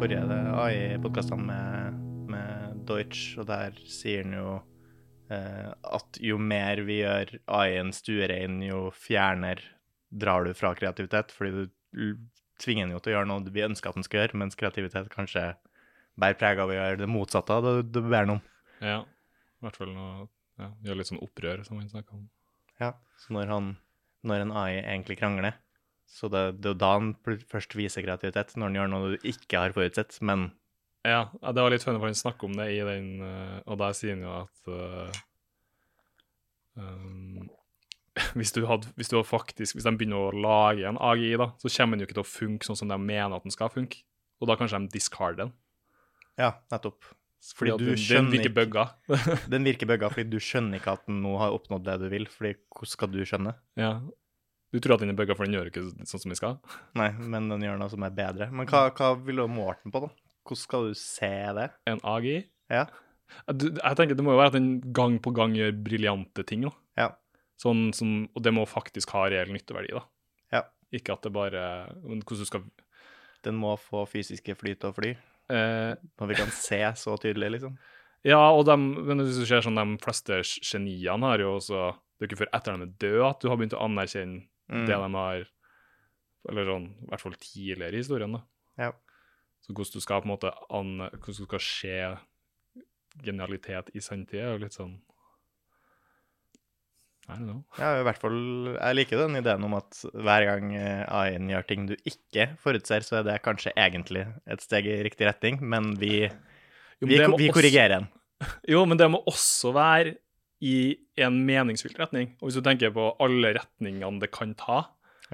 forrige AI-podkastene med, med Deutsch, og der sier han jo eh, at jo mer vi gjør AI-en stuerein, jo fjerner drar du fra kreativitet, fordi du l- tvinger den jo til å gjøre noe vi ønsker at den skal gjøre, mens kreativitet kanskje bærer preg av å gjøre det motsatte av det du ber den om. Ja. I hvert fall noe ja, Gjør litt sånn opprør, som han snakka om. Ja, så når, han, når en AI egentlig krangler, så det, det er jo da han pl- først viser kreativitet, når han gjør noe du ikke har forutsett, men Ja, ja, det var litt funnet, for han snakker om det i den eh, Og der sier han jo at eh, um, hvis, du hadde, hvis du hadde faktisk Hvis de begynner å lage en AGI, da, så kommer den jo ikke til å funke sånn som de mener at den skal funke. Og da kanskje de discarder den. ja, nettopp. Fordi Ja, at du den, den skjønner virker ikke- bugga. Den virker bugga fordi du skjønner ikke at den nå har oppnådd det du vil, fordi hvordan skal du skjønne? ja. Du tror at den er bugga, for den gjør ikke sånn som den skal. Nei, men den gjør noe som er bedre. Men hva, hva vil du ha målt den på, da? Hvordan skal du se det? En AGI. Ja. Du, jeg tenker Det må jo være at den gang på gang gjør briljante ting. da. Ja. Sånn som, Og det må faktisk ha reell nytteverdi. da. Ja. Ikke at det bare men Hvordan du skal Den må få fysiske fly til å fly, eh, når vi kan se så tydelig, liksom. Ja, og dem, men hvis du ser sånn, de fleste g- geniene har jo også Det er jo ikke før etter de er døde at du har begynt å anerkjenne Mm. det de har Eller sånn, i hvert fall tidligere i historien, da. Ja. Så hvordan du skal på en måte an, Hvordan du skal se genialitet i sanntid, er jo litt sånn I don't know. Ja, i hvert fall, Jeg liker den ideen om at hver gang eh, AI-en gjør ting du ikke forutser, så er det kanskje egentlig et steg i riktig retning, men vi, Jo, men vi, det ko- må vi også- korrigerer den. Jo, men det må også være i en meningsfylt retning. Og hvis du tenker på alle retningene det kan ta,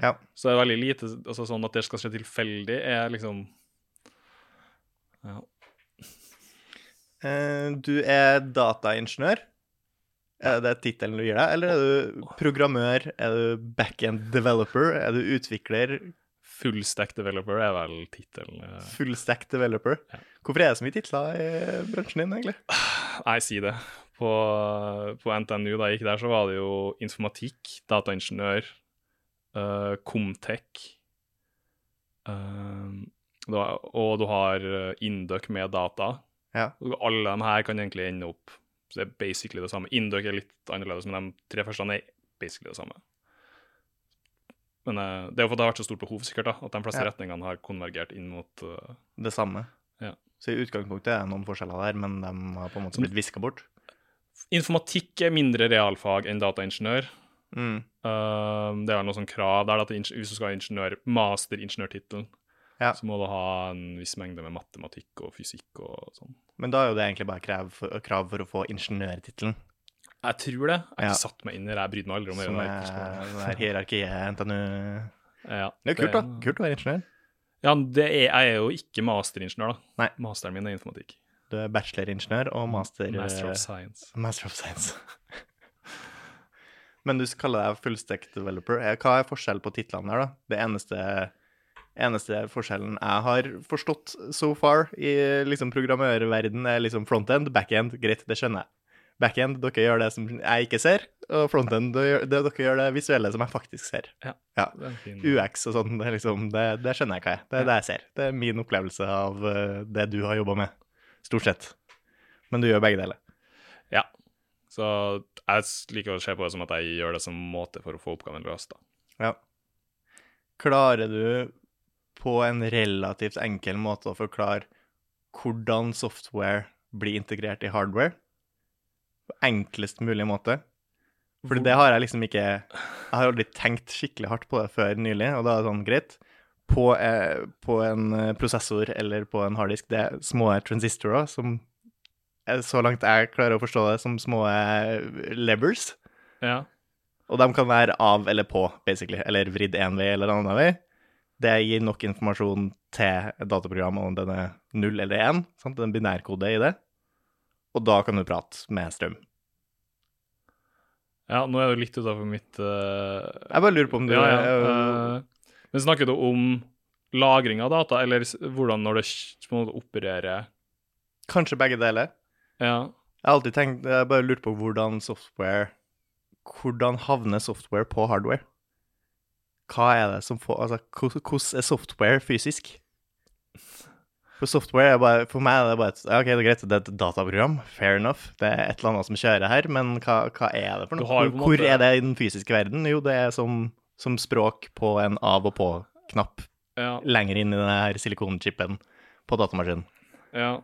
Ja. så er det veldig lite altså sånn at det skal skje tilfeldig, er liksom ja. Eh, Du er dataingeniør. Er det tittelen du gir deg, eller er du programmør, er du backend developer, er du utvikler, Full stack developer er vel tittelen. eh. full stack developer? Ja. Hvorfor er det så mye titler i bransjen din, egentlig? Nei, si det. På, på NTNU, da jeg gikk der, så var det jo informatikk, dataingeniør, eh, Comtech eh, du har- Og du har eh, Induc med data. Ja. Og alle de her kan egentlig ende opp Så det er basically det samme. Induc er litt annerledes, men de tre første er basically det samme. Men eh, det er jo fordi det har vært så stort behov, sikkert, da, at de fleste Ja. retningene har konvergert inn mot eh, Det samme. Ja. Så i utgangspunktet er det noen forskjeller der, men de har på en måte blitt viska bort. Informatikk er mindre realfag enn dataingeniør. Mm. Um, det er vel noe sånn krav der at ing- hvis du skal ha ingeniør, masteringeniørtittelen, Ja. så må du ha en viss mengde med matematikk og fysikk og sånn. Men da er jo det egentlig bare krav for, krav for å få ingeniørtittelen, Jeg tror det. Jeg har Ja. ikke satt meg inn i det. Jeg bryr meg aldri om det. som det er er- det er hierarkiet NTNU Det ja, er jo kult, da. Kult å være ingeniør. Ja, det er, jeg er jo ikke masteringeniør, da. Nei. Masteren min er informatikk. Du er bacheloringeniør og master, Master of Science. Master of Science. Men du kaller deg fullstack developer. Eh, Hva er forskjellen på titlene der, da? Det eneste, eneste forskjellen jeg har forstått so far i liksom programmørverden, er liksom frontend, backend. Greit, det skjønner jeg. Backend, dere gjør det som jeg ikke ser, og frontend, det gjør- det- dere gjør det visuelle som jeg faktisk ser. Det er en fin- UX og sånn, det, er liksom, det, det skjønner jeg hva er. Det er det jeg ser. Det er min opplevelse av eh, det du har jobba med, stort sett. Men du gjør begge deler. Ja. Så jeg s- liker å se på det som at jeg gjør det som måte for å få oppgaven løst, da. Ja. Klarer du på en relativt enkel måte å forklare hvordan software blir integrert i hardware? På enklest mulig måte. Fordi det har jeg liksom ikke Jeg har aldri tenkt skikkelig hardt på det før nylig, og da er det sånn greit. På, eh, på en eh, prosessor eller på en harddisk, det er små transistorer som eh, Så langt jeg klarer å forstå det, som små eh, levers. Ja. Og de kan være av eller på, basically. Eller vridd én vei eller annen vei. Det gir nok informasjon til et dataprogram om den er null eller én. Sant? Det er en binærkode i det. Og da kan du prate med strøm. ja, nå er du litt utafor mitt eh, Jeg bare lurer på om du Ja, ja. eh, Men snakker du om lagring av data, eller s- hvordan når det s- på en måte opererer Kanskje begge deler. Ja, Jeg har alltid tenkt Jeg bare lurt på hvordan software Hvordan havner software på hardware? hva er det som får Altså, hvor- hvordan er software fysisk? For software er bare For meg er det bare et ja, OK, det er greit, det er et dataprogram. Fair enough. Det er et eller annet som kjører her, men hva, hva er det for Du noe? har jo Hvor, på en hvor måte- er det i den fysiske verden? Jo, det er som, som språk på en av- og på-knapp Ja, lenger inn i den her silikonchipen på datamaskinen. ja.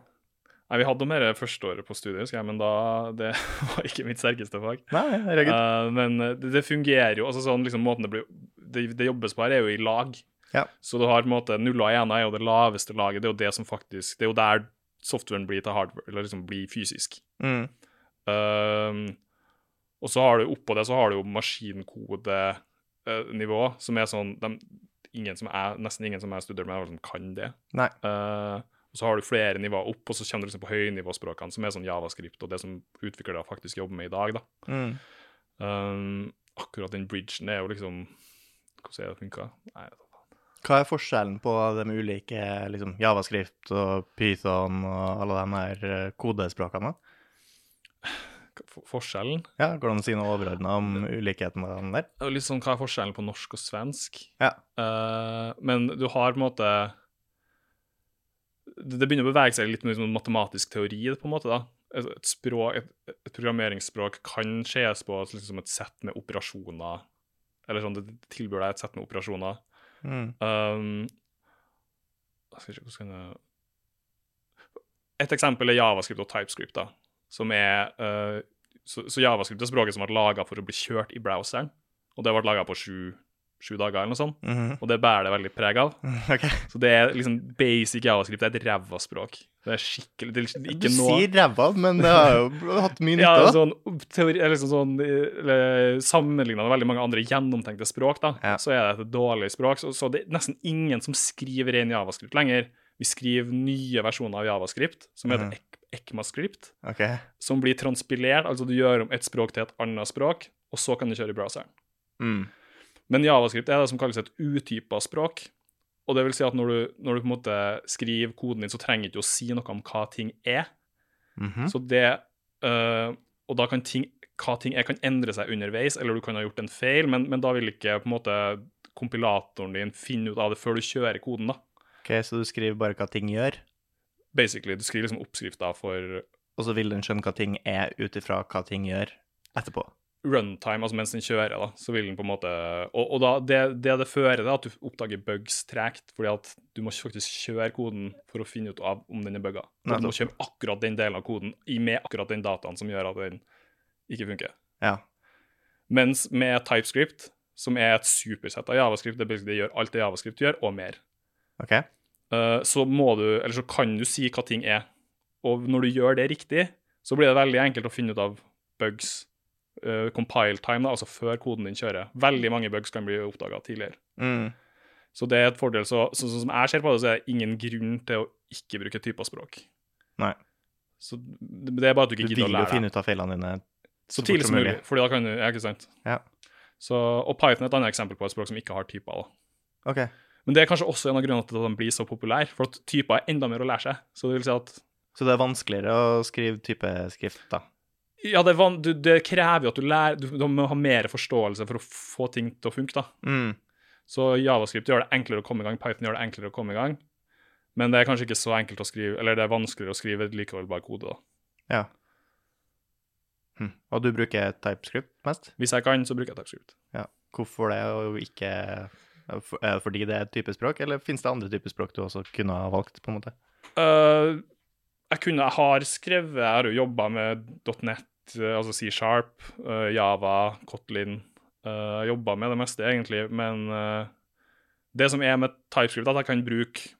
Nei, vi hadde mer førsteåret på studiet, husker jeg, men da det var ikke mitt sterkeste fag. Nei, herregud. Eh, men eh, det, det fungerer jo altså sånn liksom måten det, blir, det, det jobbes på her, er jo i lag. Ja. Så du har på en måte nuller og ener er jo det laveste laget. Det er jo det som faktisk Det er jo der softwaren blir til hardware, eller liksom blir fysisk. Mm. Eh, og så har du oppå det så har du jo maskinkodenivå, som er sånn dem- ingen som er, Nesten ingen som jeg studerte med, liksom kan det. Nei. Eh, og så har du flere nivåer opp, og så kommer du liksom på høynivåspråkene, som er sånn javascript og det som utviklere faktisk jobber med i dag. da. Mm. Um, akkurat den bridgen er jo liksom Hvordan er det funka? Nei, jeg vet ikke. Hva er forskjellen på de ulike liksom, javascript og python og alle de her eh, kodespråkene? da? Hva- for- forskjellen? Ja, Går det an å si noe overordna om ulikhetene der? Det er jo Litt sånn, hva er forskjellen på norsk og svensk? Ja. Eh, men du har på en måte Det det begynner å bevege seg litt mot sånn matematisk teori, på en måte. da. Et, et, språk, et, et programmeringsspråk kan ses på som liksom et sett med operasjoner. Eller sånn, det tilbyr deg et sett med operasjoner. Mm. Um, jeg skal ikke, hvordan kan jeg... Et eksempel er javascript og typescript. da, som er, eh, så, så javascript er språket som ble laga for å bli kjørt i browseren. og Det ble laga på sju, sju dager, eller noe sånt, Mhm. og det bærer det veldig preg av. Ok. Så det er liksom basic javascript. Det er et ræva språk. Det er skikkelig det er Du ikke noe... sier ræva, men det har jo bl- hatt mye nytte Ja, av. sånn, teori, eller liksom sånn, eller, Sammenlignet med veldig mange andre gjennomtenkte språk, da, Ja. så er det et dårlig språk. Så, så det er nesten ingen som skriver ren javascript lenger. Vi skriver nye versjoner av javascript, som heter Mhm. Ek- ECMAScript, Ok. som blir transpilert, altså du gjør om et språk til et annet språk, og så kan du kjøre i browseren. Mm. Men javascript er det som kalles et utypa språk. Og det vil si at når du, når du på en måte skriver koden din, så trenger du ikke å si noe om hva ting er. Mhm. Så det øh, Og da kan ting, hva ting er, kan endre seg underveis, eller du kan ha gjort en feil, men, men da vil ikke på en måte kompilatoren din finne ut av det før du kjører koden, da. ok, Så du skriver bare hva ting gjør, Basically, du skriver liksom oppskrifta for og så vil den skjønne hva ting er ut ifra hva ting gjør etterpå. runtime, altså mens den kjører, da, så vil den på en måte Og, og da, det, det det fører til, er at du oppdager bugs tregt, fordi at du må faktisk kjøre koden for å finne ut av om den er bugga. Og Du må kjøre akkurat den delen av koden i med akkurat den dataen som gjør at den ikke funker. Ja. Mens med TypeScript, som er et supersett av javascript, det, er basically- det gjør alt det javascript gjør, og mer, OK. eh, så må du, eller så kan du si hva ting er. Og når du gjør det riktig, så blir det veldig enkelt å finne ut av bugs. eh, compile time, da, altså før koden din kjører. Veldig mange bugs kan bli oppdaga tidligere. Mm. Så det er et fordel. Så, så, sånn som jeg ser på det, så er det ingen grunn til å ikke bruke typer språk. Nei. Så det, det er bare at du Du ikke vil gidder å jo lære deg. finne ut av feilene dine. Så så fort tidlig som som mulig, mulig. for da kan du Ja, ikke sant? Ja. Så, og Python er et annet eksempel på et språk som ikke har typer. da. OK. Men det er kanskje også en av grunnene til at de blir så populære, for at typer er enda mer å lære seg. Så det vil si at Så det er vanskeligere å skrive typeskrift, da. ja, det, er van, du, det krever jo at du lærer Du, du må ha mer forståelse for å få ting til å funke, da. Mm. Så javascript gjør det enklere å komme i gang, Python gjør det enklere å komme i gang. Men det er kanskje ikke så enkelt å skrive, eller det er vanskeligere å skrive likeholdbar kode, da. Ja. Hm. Og du bruker TypeScript mest? Hvis jeg kan, så bruker jeg TypeScript. Hvorfor det, og ikke for- Er det fordi det er et type språk, eller finnes det andre typer språk du også kunne ha valgt, på en måte? Eh, jeg kunne, jeg har skrevet, jeg har jo jobba med .net, eh, altså C-Sharp, eh, Java, Kotlin. Uh, jobba med det meste, egentlig, men eh, det som er med TypeScript, er at jeg kan bruke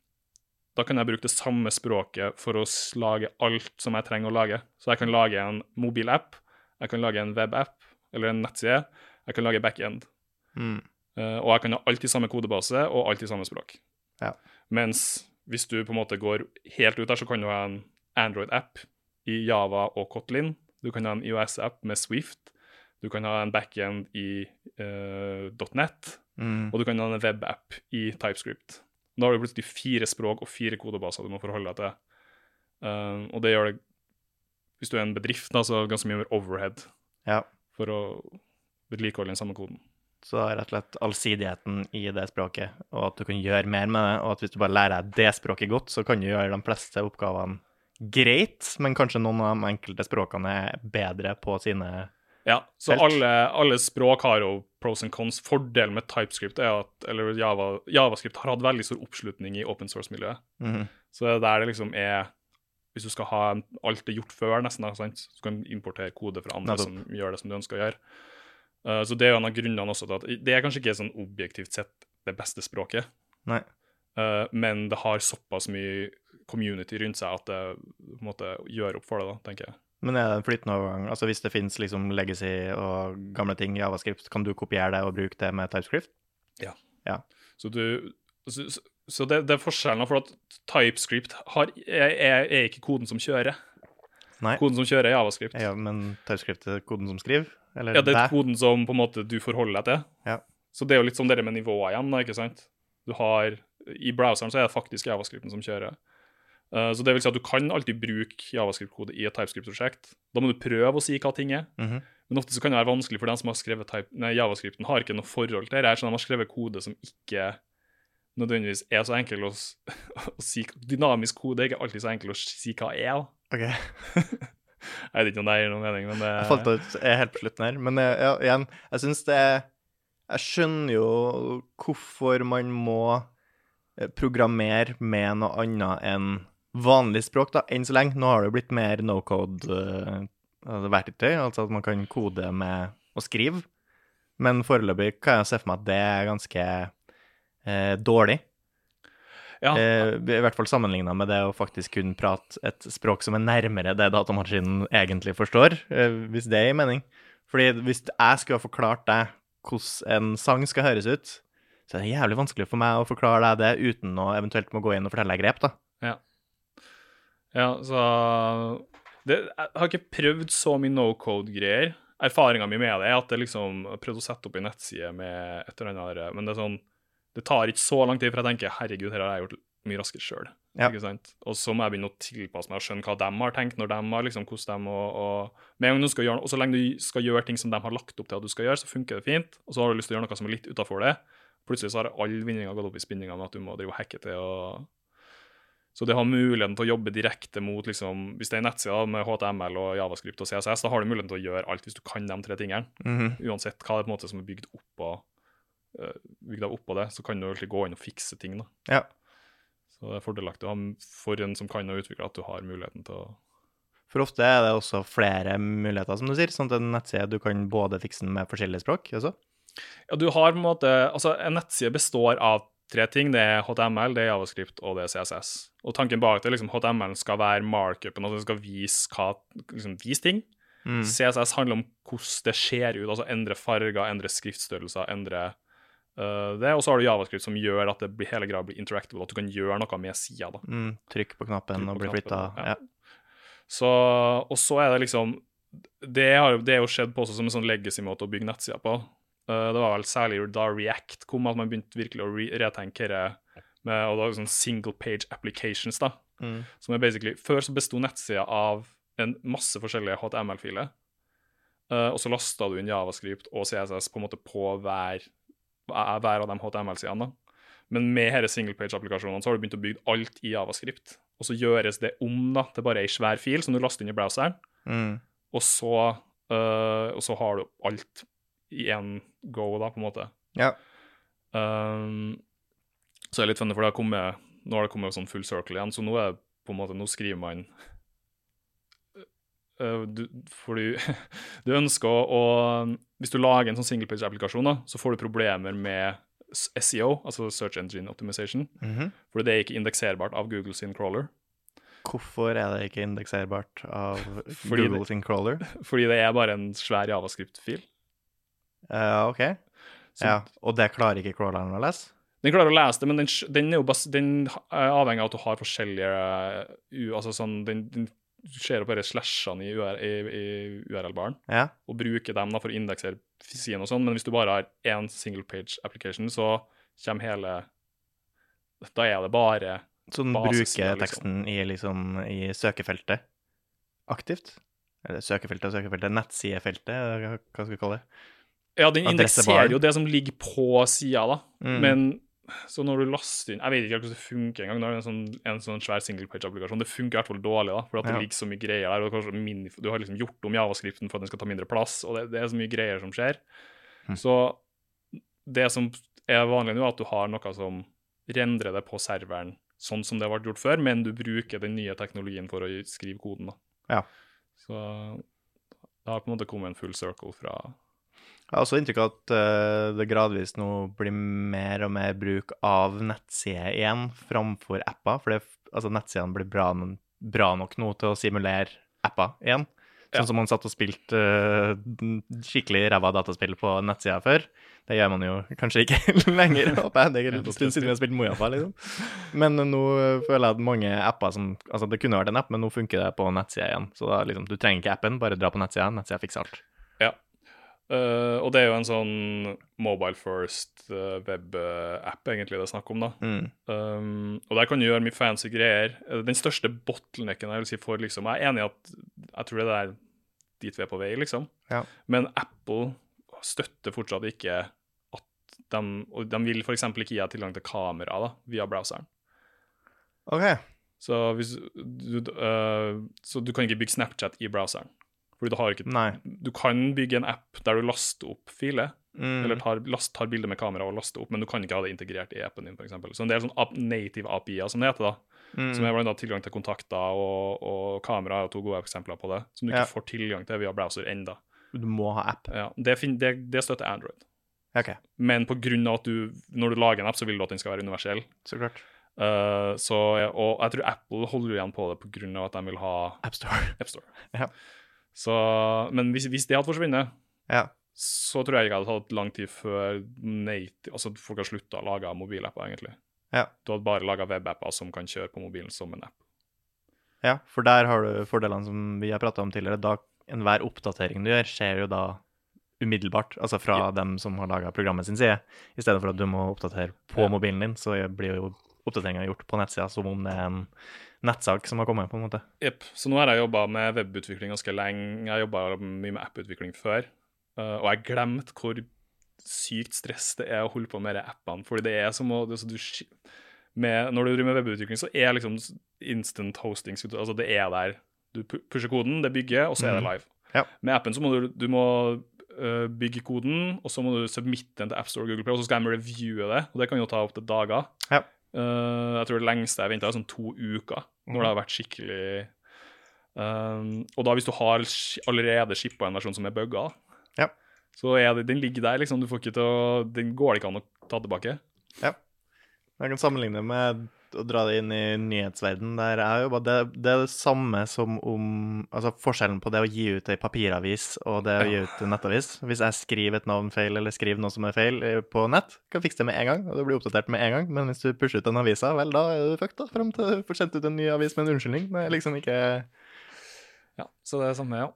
da kan jeg bruke det samme språket for å s- lage alt som jeg trenger å lage. Så jeg kan lage en mobilapp, jeg kan lage en webapp eller en nettside, jeg kan lage backend. Mm. Eh, og jeg kan ha alt i samme kodebase og alt i samme språk. Ja. Mens hvis du på en måte går helt ut der, så kan du ha en Android-app i Java og Kotlin. Du kan ha en IOS-app med Swift. Du kan ha en backend i eh, .net. Mm. Og du kan ha en web-app i TypeScript. Da har du plutselig fire språk og fire kodebaser du må forholde deg til. Eh, og det gjør det, hvis du er en bedrift, da, så er det ganske mye mer overhead Ja. for å vedlikeholde den samme koden. Så det er rett og slett allsidigheten i det språket, og at du kan gjøre mer med det. Og at hvis du bare lærer deg det språket godt, så kan du gjøre de fleste oppgavene greit, men kanskje noen av de enkelte språkene er bedre på sine Ja, så Felt. alle, alle språk har jo pros and cons. Fordelen med TypeScript er at, eller Java, Javascript har hatt veldig stor oppslutning i open source-miljøet. Mhm. Så det er der det liksom er Hvis du skal ha en- alt det gjort før, nesten, da, sant? så kan du importere kode fra andre Nettopp. som gjør det som du ønsker å gjøre. Eh, så det er jo en av grunnene også til at det er kanskje ikke sånn objektivt sett det beste språket, Nei. Eh, men det har såpass mye community rundt seg at det på en måte gjør opp for det, da, tenker jeg. Men er det en flytende overgang? Altså Hvis det fins liksom legacy og gamle ting i Javascript, kan du kopiere det og bruke det med TypeScript? Så, du, så, så- så det, det er forskjellen, for at TypeScript har, er, er, er ikke koden som kjører. Nei. Koden som kjører er JavaScript. Ja, men TypeScript er koden som skriver? Eller Ja, det er deg? koden som på en måte du forholder deg til. Ja. Så det er jo litt sånn det med nivåer igjen, da, ikke sant? Du har, I browseren så er det faktisk javascripten som kjører. Eh, så det vil si at du kan alltid bruke javascript-kode i et TypeScript-prosjekt. Da må du prøve å si hva ting er. Mhm. Men ofte så kan det være vanskelig for dem som har skrevet type, nei, javascripten, har ikke noe forhold til det her, så de har skrevet kode som ikke nødvendigvis er så enkel å, s- å si. Dynamisk kode er ikke alltid så enkel å si hva er. da. Ok, Jeg vet ikke om det gir noen mening, men det Jeg falt ut jeg er helt på slutten her. Men eh, ja, igjen, jeg syns det er Jeg skjønner jo hvorfor man må eh, programmere med noe annet enn vanlig språk, da, enn så lenge. Nå har det jo blitt mer no code-verktøy, altså at man kan kode med å skrive. Men foreløpig kan jeg se for meg at det er ganske eh, dårlig. Ja. Eh, I hvert fall sammenligna med det å faktisk kunne prate et språk som er nærmere det datamaskinen egentlig forstår, eh, hvis det gir mening. Fordi hvis jeg skulle ha forklart deg hvordan en sang skal høres ut, så er det jævlig vanskelig for meg å forklare deg det uten å eventuelt må gå inn og fortelle deg grep, da. Ja, så det, Jeg har ikke prøvd så mye no code-greier. Erfaringa mi med det er at jeg liksom har prøvd å sette opp en nettside med et eller annet, her, men det er sånn Det tar ikke så lang tid, for jeg tenker herregud, her har jeg gjort mye raskere sjøl. Ja. Ikke sant? Og så må jeg begynne å tilpasse meg og skjønne hva de har tenkt, når de har liksom hvordan de må og, med en gang du skal gjøre, noe- Og så lenge du skal gjøre ting som de har lagt opp til at du skal gjøre, så funker det fint. Og så har du lyst til å gjøre noe som er litt utafor det. Plutselig så har alle vinninga gått opp i spinninga med at du må drive og hacke til og så det har muligheten til å jobbe direkte mot liksom, Hvis det er en nettside da, med HTML og Javascript og CSS, da har du muligheten til å gjøre alt hvis du kan de tre tingene. Uansett hva det er på en måte som er bygd oppå, eh, bygd av oppå det, så kan du egentlig gå inn og fikse ting. da. Ja. Så det er fordelaktig å ha for en som kan å utvikle, at du har muligheten til å For ofte er det også flere muligheter, som du sier, sånn at en nettside du kan både fikse den med forskjellige språk altså. også. Ja, du har på en måte Altså, en nettside består av tre ting. Det er HTML, det er Javascript og det er CSS. Og tanken bak det er liksom HTML skal være markupen, altså den skal vise, hva, liksom, vise ting. Mm. CSS handler om hvordan det ser ut, altså endre farger, endre skriftstørrelser, endre eh, det. Og så har du Javascript som gjør at det blir, hele greia blir interactable, at du kan gjøre noe med sida. da. Mm. Trykk på knappen Trykk og på bli flytta. knappen, ja. Ja. Så, og så er det liksom Det har jo- det er jo skjedd på også som en sånn legacy-måte å bygge nettsider på. Eh, det var vel særlig da React kom, at man begynte virkelig å re retenke det med og da, sånn single page applications. da. Mm. som er basically, Før så besto nettsida av en masse forskjellige HTML-filer. eh, og så lasta du inn Javascript og CSS på en måte på hver, hver av de HTML-sidene. da. Men med disse singlepage-applikasjonene så har du begynt å bygge alt i Javascript. Og så gjøres det om da, til bare ei svær fil som du laster inn i browseren, Mm. og så, eh, og så har du alt i én go, da, på en måte. Ja. Um, så er det litt funnet, for det har kommet, nå har det kommet sånn full circle igjen, så nå er det på en måte, nå skriver man Uh, du, for du, du ønsker å, å- Hvis du lager en sånn singlepage-applikasjon, da, så får du problemer med s- SEO, altså Search Engine Optimization, Mhm. for det er ikke indekserbart av Google sin crawler. Hvorfor er det ikke indekserbart av Fordi det- Google sin crawler? Fordi det er bare en svær javascript-fil. Eh, OK. Så ja. Og det klarer ikke crawleren å lese? Den klarer å lese det, men den, sk- den er jo bas den er avhengig av at du har forskjellige uh, u- Altså sånn Den, den ser opp bare slashene i, UR, i, i URL-baren Ja. og bruker dem da for å indeksere siden og sånn, men hvis du bare har én single page application, så kommer hele Da er det bare Så den Basisida, bruker liksom. teksten i, liksom, i søkefeltet aktivt? Eller søkefeltet og søkefeltet, nettsidefeltet, eller hva hva skal vi kalle det? Ja, den Adressebaren. indekserer jo det som ligger på sida, da. Mm. Men så når du laster inn Jeg vet ikke helt hvordan det funker engang. når Det er en sånn, en sånn svær singlepage-applikasjon. Det funker i hvert fall dårlig, da, for at Ja. det ligger så mye greier der. Og det er kanskje mini, du har liksom gjort om javaskriften for at den skal ta mindre plass, og det, det er så mye greier som skjer. Mhm. Så det som er vanlig nå, er at du har noe som rendrer det på serveren, sånn som det ble gjort før, men du bruker den nye teknologien for å skrive koden. da. Ja. Så det har på en måte kommet en full circle fra Jeg har også inntrykk av at eh, det gradvis nå blir mer og mer bruk av nettsider igjen framfor apper, for det, altså, nettsidene blir bra, n- bra nok nå til å simulere apper igjen. Sånn Ja. som man satt og spilte eh, n- skikkelig ræva dataspill på nettsida før. Det gjør man jo kanskje ikke lenger, håper jeg. Det er en stund siden vi har spilt Mojapa, liksom. Men eh, nå føler jeg at mange apper som Altså, det kunne vært en app, men nå funker det på nettsida igjen. Så da liksom, du trenger ikke appen, bare dra på nettsida. Nettsida fikser alt. Eh, og det er jo en sånn mobile first eh, web-app egentlig det er snakk om, da. Mm. Um, og der kan du gjøre mye fancy greier. Eh, Den største bottlenecken jeg vil si for liksom Jeg er enig i at jeg tror det er dit vi er på vei, liksom. Ja. Men Apple støtter fortsatt ikke at de Og de vil f.eks. ikke gi deg tilgang til kamera da, via browseren. OK. Så, hvis, du, eh, så du kan ikke bygge Snapchat i browseren. Fordi du har ikke Nei. Du kan bygge en app der du laster opp filer. Mm. Eller tar, last, tar bilder med kamera og laster opp, men du kan ikke ha det integrert i appen din. For eksempel. så en del sånn ap- native API-er, som det heter, da, mm. som er blant annet tilgang til kontakter og, og kamera, er to gode eksempler på det, som du Ja. ikke får tilgang til via browser enda. Du må ha app. Ja, det, fin det, det støtter Android. OK, Men på grunn av at du, når du lager en app, så vil du at den skal være universell. så klart. Eh, så, og jeg tror Apple holder igjen på det på grunn av at de vil ha AppStore. AppStore. Ja. Så, men hvis, hvis det hadde forsvunnet, Ja. så tror jeg ikke det hadde tatt lang tid før native, altså folk har slutta å lage mobilapper, egentlig. Ja. Du hadde bare laga webapper som kan kjøre på mobilen som en app. ja, for der har du fordelene som vi har prata om tidligere. Da enhver oppdatering du gjør, skjer jo da umiddelbart, altså fra Ja. dem som har laga programmet sin side. I stedet for at du må oppdatere på Ja. mobilen din, så blir jo oppdateringa gjort på nettsida som om det er en nettsak som har kommet, på en måte. Jep, Så nå har jeg jobba med webutvikling ganske lenge. Jeg jobba mye med apputvikling før. eh, og jeg glemte hvor sykt stress det er å holde på med de appene. Fordi det er som å det er så du, sk- med, Når du driver med webutvikling, så er liksom s- instant hosting skulle du- Altså, det er der. Du pu- pusher koden, det bygger, og så er det Mhm. live. Ja. Med appen så må du, du må eh, bygge koden, og så må du submitte den til AppStore og Google Play, og så skal de reviewe det. Og det kan jo ta opptil dager. Ja. Eh, jeg tror det lengste jeg venta, er sånn to uker, Mhm. når det har vært skikkelig Um, og da hvis du har sk- allerede shippa en versjon som er bugga, Ja. så er det, den ligger der, liksom. Du får ikke til å, den går det ikke an å ta tilbake. Jeg kan sammenligne med å dra det inn i nyhetsverden der jeg jobber. Det, det er det samme som om Altså forskjellen på det å gi ut ei papiravis og det å gi ut en nettavis. Hvis jeg skriver et navn feil eller skriver noe som er feil eh, på nett, kan jeg fikse det med en gang, og det blir oppdatert med en gang. Men hvis du pusher ut den avisa, vel, da er du fucked, da. Fram til du får sendt ut en ny avis med en unnskyldning. Det er liksom ikke Ja, Så det er samme, ja.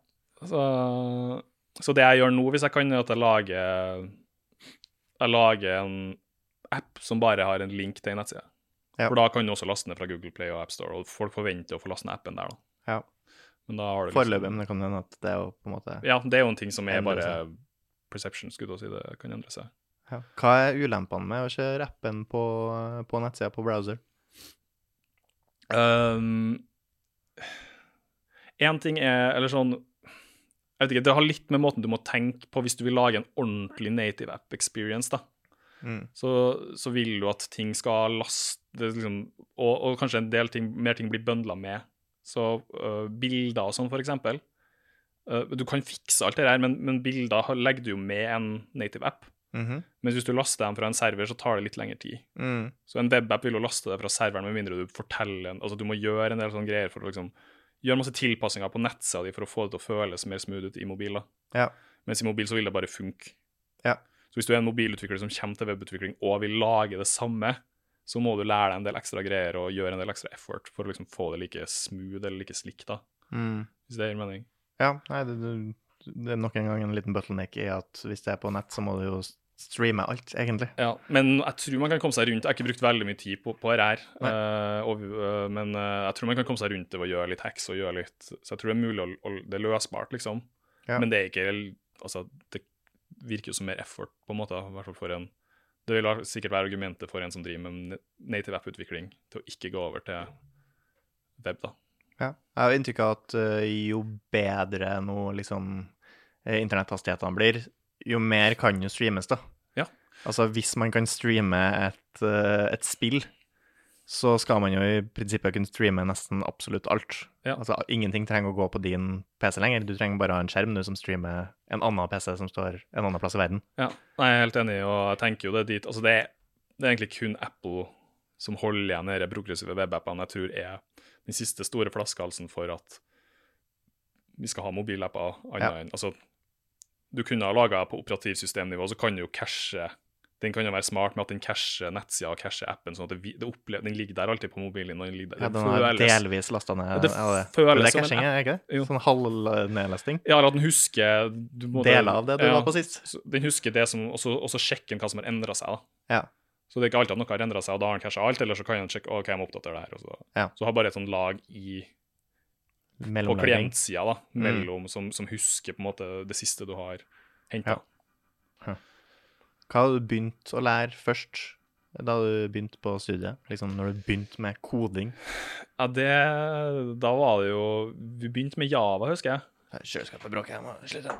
Så, så det jeg gjør nå, hvis jeg kan, er at jeg lager Jeg lager en app som bare har en link til en nettside. Ja. For da kan du også laste ned fra Google Play og AppStore, og folk forventer å få laste ned appen der, da. Ja. Men da har du liksom- foreløpig, men det kan hende at det er jo på en måte Ja, det er jo en ting som er Endre bare perception, skulle jeg til å si. Det kan endre seg. ja. Hva er ulempene med å kjøre appen på, på nettsida på browser? Um, en ting er, eller sånn jeg vet ikke, Det har litt med måten du må tenke på hvis du vil lage en ordentlig native app experience. da, Mm. Så, så vil du at ting skal laste det er liksom, og, og kanskje en del ting, mer ting blir bøndla med. Så øh, bilder og sånn, for eksempel. Øh, du kan fikse alt det der, men, men bilder har- legger du jo med en native app. Mhm. Mens hvis du laster dem fra en server, så tar det litt lengre tid. mm. Så en webapp vil jo laste det fra serveren med mindre du forteller en- Altså du må gjøre en del sånne greier for å liksom Gjøre masse tilpassinger på nettsida di for å få det til å føles mer smooth ut i mobil. da. Ja. Mens i mobil så vil det bare funke. Ja. Så hvis du er en mobilutvikler som kommer til webutvikling og vil lage det samme, så må du lære deg en del ekstra greier og gjøre en del ekstra effort for å liksom få det like smooth eller like slikt, da. Mm. Hvis det gir mening. Ja, nei, det, det, det er nok en gang en liten bottleneck i at hvis det er på nett, så må du jo streame alt, egentlig. Ja, men jeg tror man kan komme seg rundt Jeg har ikke brukt veldig mye tid på, på det her, Nei. eh, og, eh, men eh, jeg tror man kan komme seg rundt det ved å gjøre litt hacks og gjøre litt Så jeg tror det er mulig å, å Det er løsbart, liksom. Ja. Men det er ikke Altså, det, virker jo som mer effort, på en måte. I hvert fall for en Det vil da sikkert være argumentet for en som driver med ne- native app-utvikling, til å ikke gå over til web, da. Ja. Jeg har inntrykk av at eh, jo bedre nå liksom eh, internetthastighetene blir, jo mer kan jo streames, da. Ja. Altså hvis man kan streame et, eh, et spill, så skal man jo i prinsippet kunne streame nesten absolutt alt. Ja. Altså ingenting trenger å gå på din PC lenger, du trenger bare ha en skjerm du som streamer en annen PC som står en annen plass i verden. Ja, nei, jeg er helt enig, og jeg tenker jo det dit Altså, det er, det er egentlig kun Apple som holder igjen de progressive webappene jeg tror er den siste store flaskehalsen for at vi skal ha mobilapper annet Ja. enn Altså, du kunne ha laga på operativsystemnivå, så kan du jo cashe den kan jo være smart med at den casher nettsida og casher appen, sånn at det, vi- det opplever, den ligger der alltid på mobilen. og Den ligger der. Ja, Det den har føles- delvis lasta ned. Ja, det ja, føles Men det er som en caching, er det ikke det? Jo. Sånn halvnedlasting. Ja, eller at den husker du må- Deler av det du Ja. var på sist. Så Den husker det som Og så og så sjekker den hva som har endra seg. da. Ja. Så det er ikke alltid at noe har endra seg, og da har han kanskje alt, eller så kan han sjekke ok, jeg må oppdatere det her. Og så. Ja. så har bare et sånn lag i, på Mellomlanding. klientsida da, Mm. mellom, som, som husker på en måte det siste du har henta. Ja. Hva hadde du begynt å lære først da du begynte på studiet? Liksom når du begynte med koding? Ja. det Da var det jo Vi begynte med Java, husker jeg. Kjøleskapet bråker, jeg må slutte.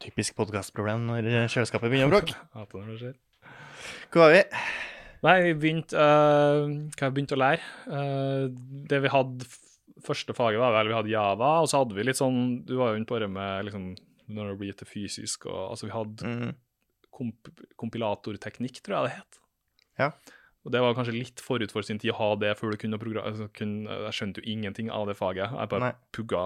Typisk podkastproblem når eh, kjøleskapet begynner å bråke. Hater når det skjer. Hvor var vi? Nei, vi begynte øh, Hva jeg begynte å lære? Øh, det vi hadde f- første faget, var vel vi hadde Java, og så hadde vi litt sånn Du var jo inne på det med liksom, når det blir til fysisk, og altså vi hadde Mm. komp kompilatorteknikk, tror jeg det het. Ja. Og det var kanskje litt forut for sin tid å ha det før du kunne progra- altså, kun- Jeg skjønte jo ingenting av det faget. Jeg bare Nei. pugga.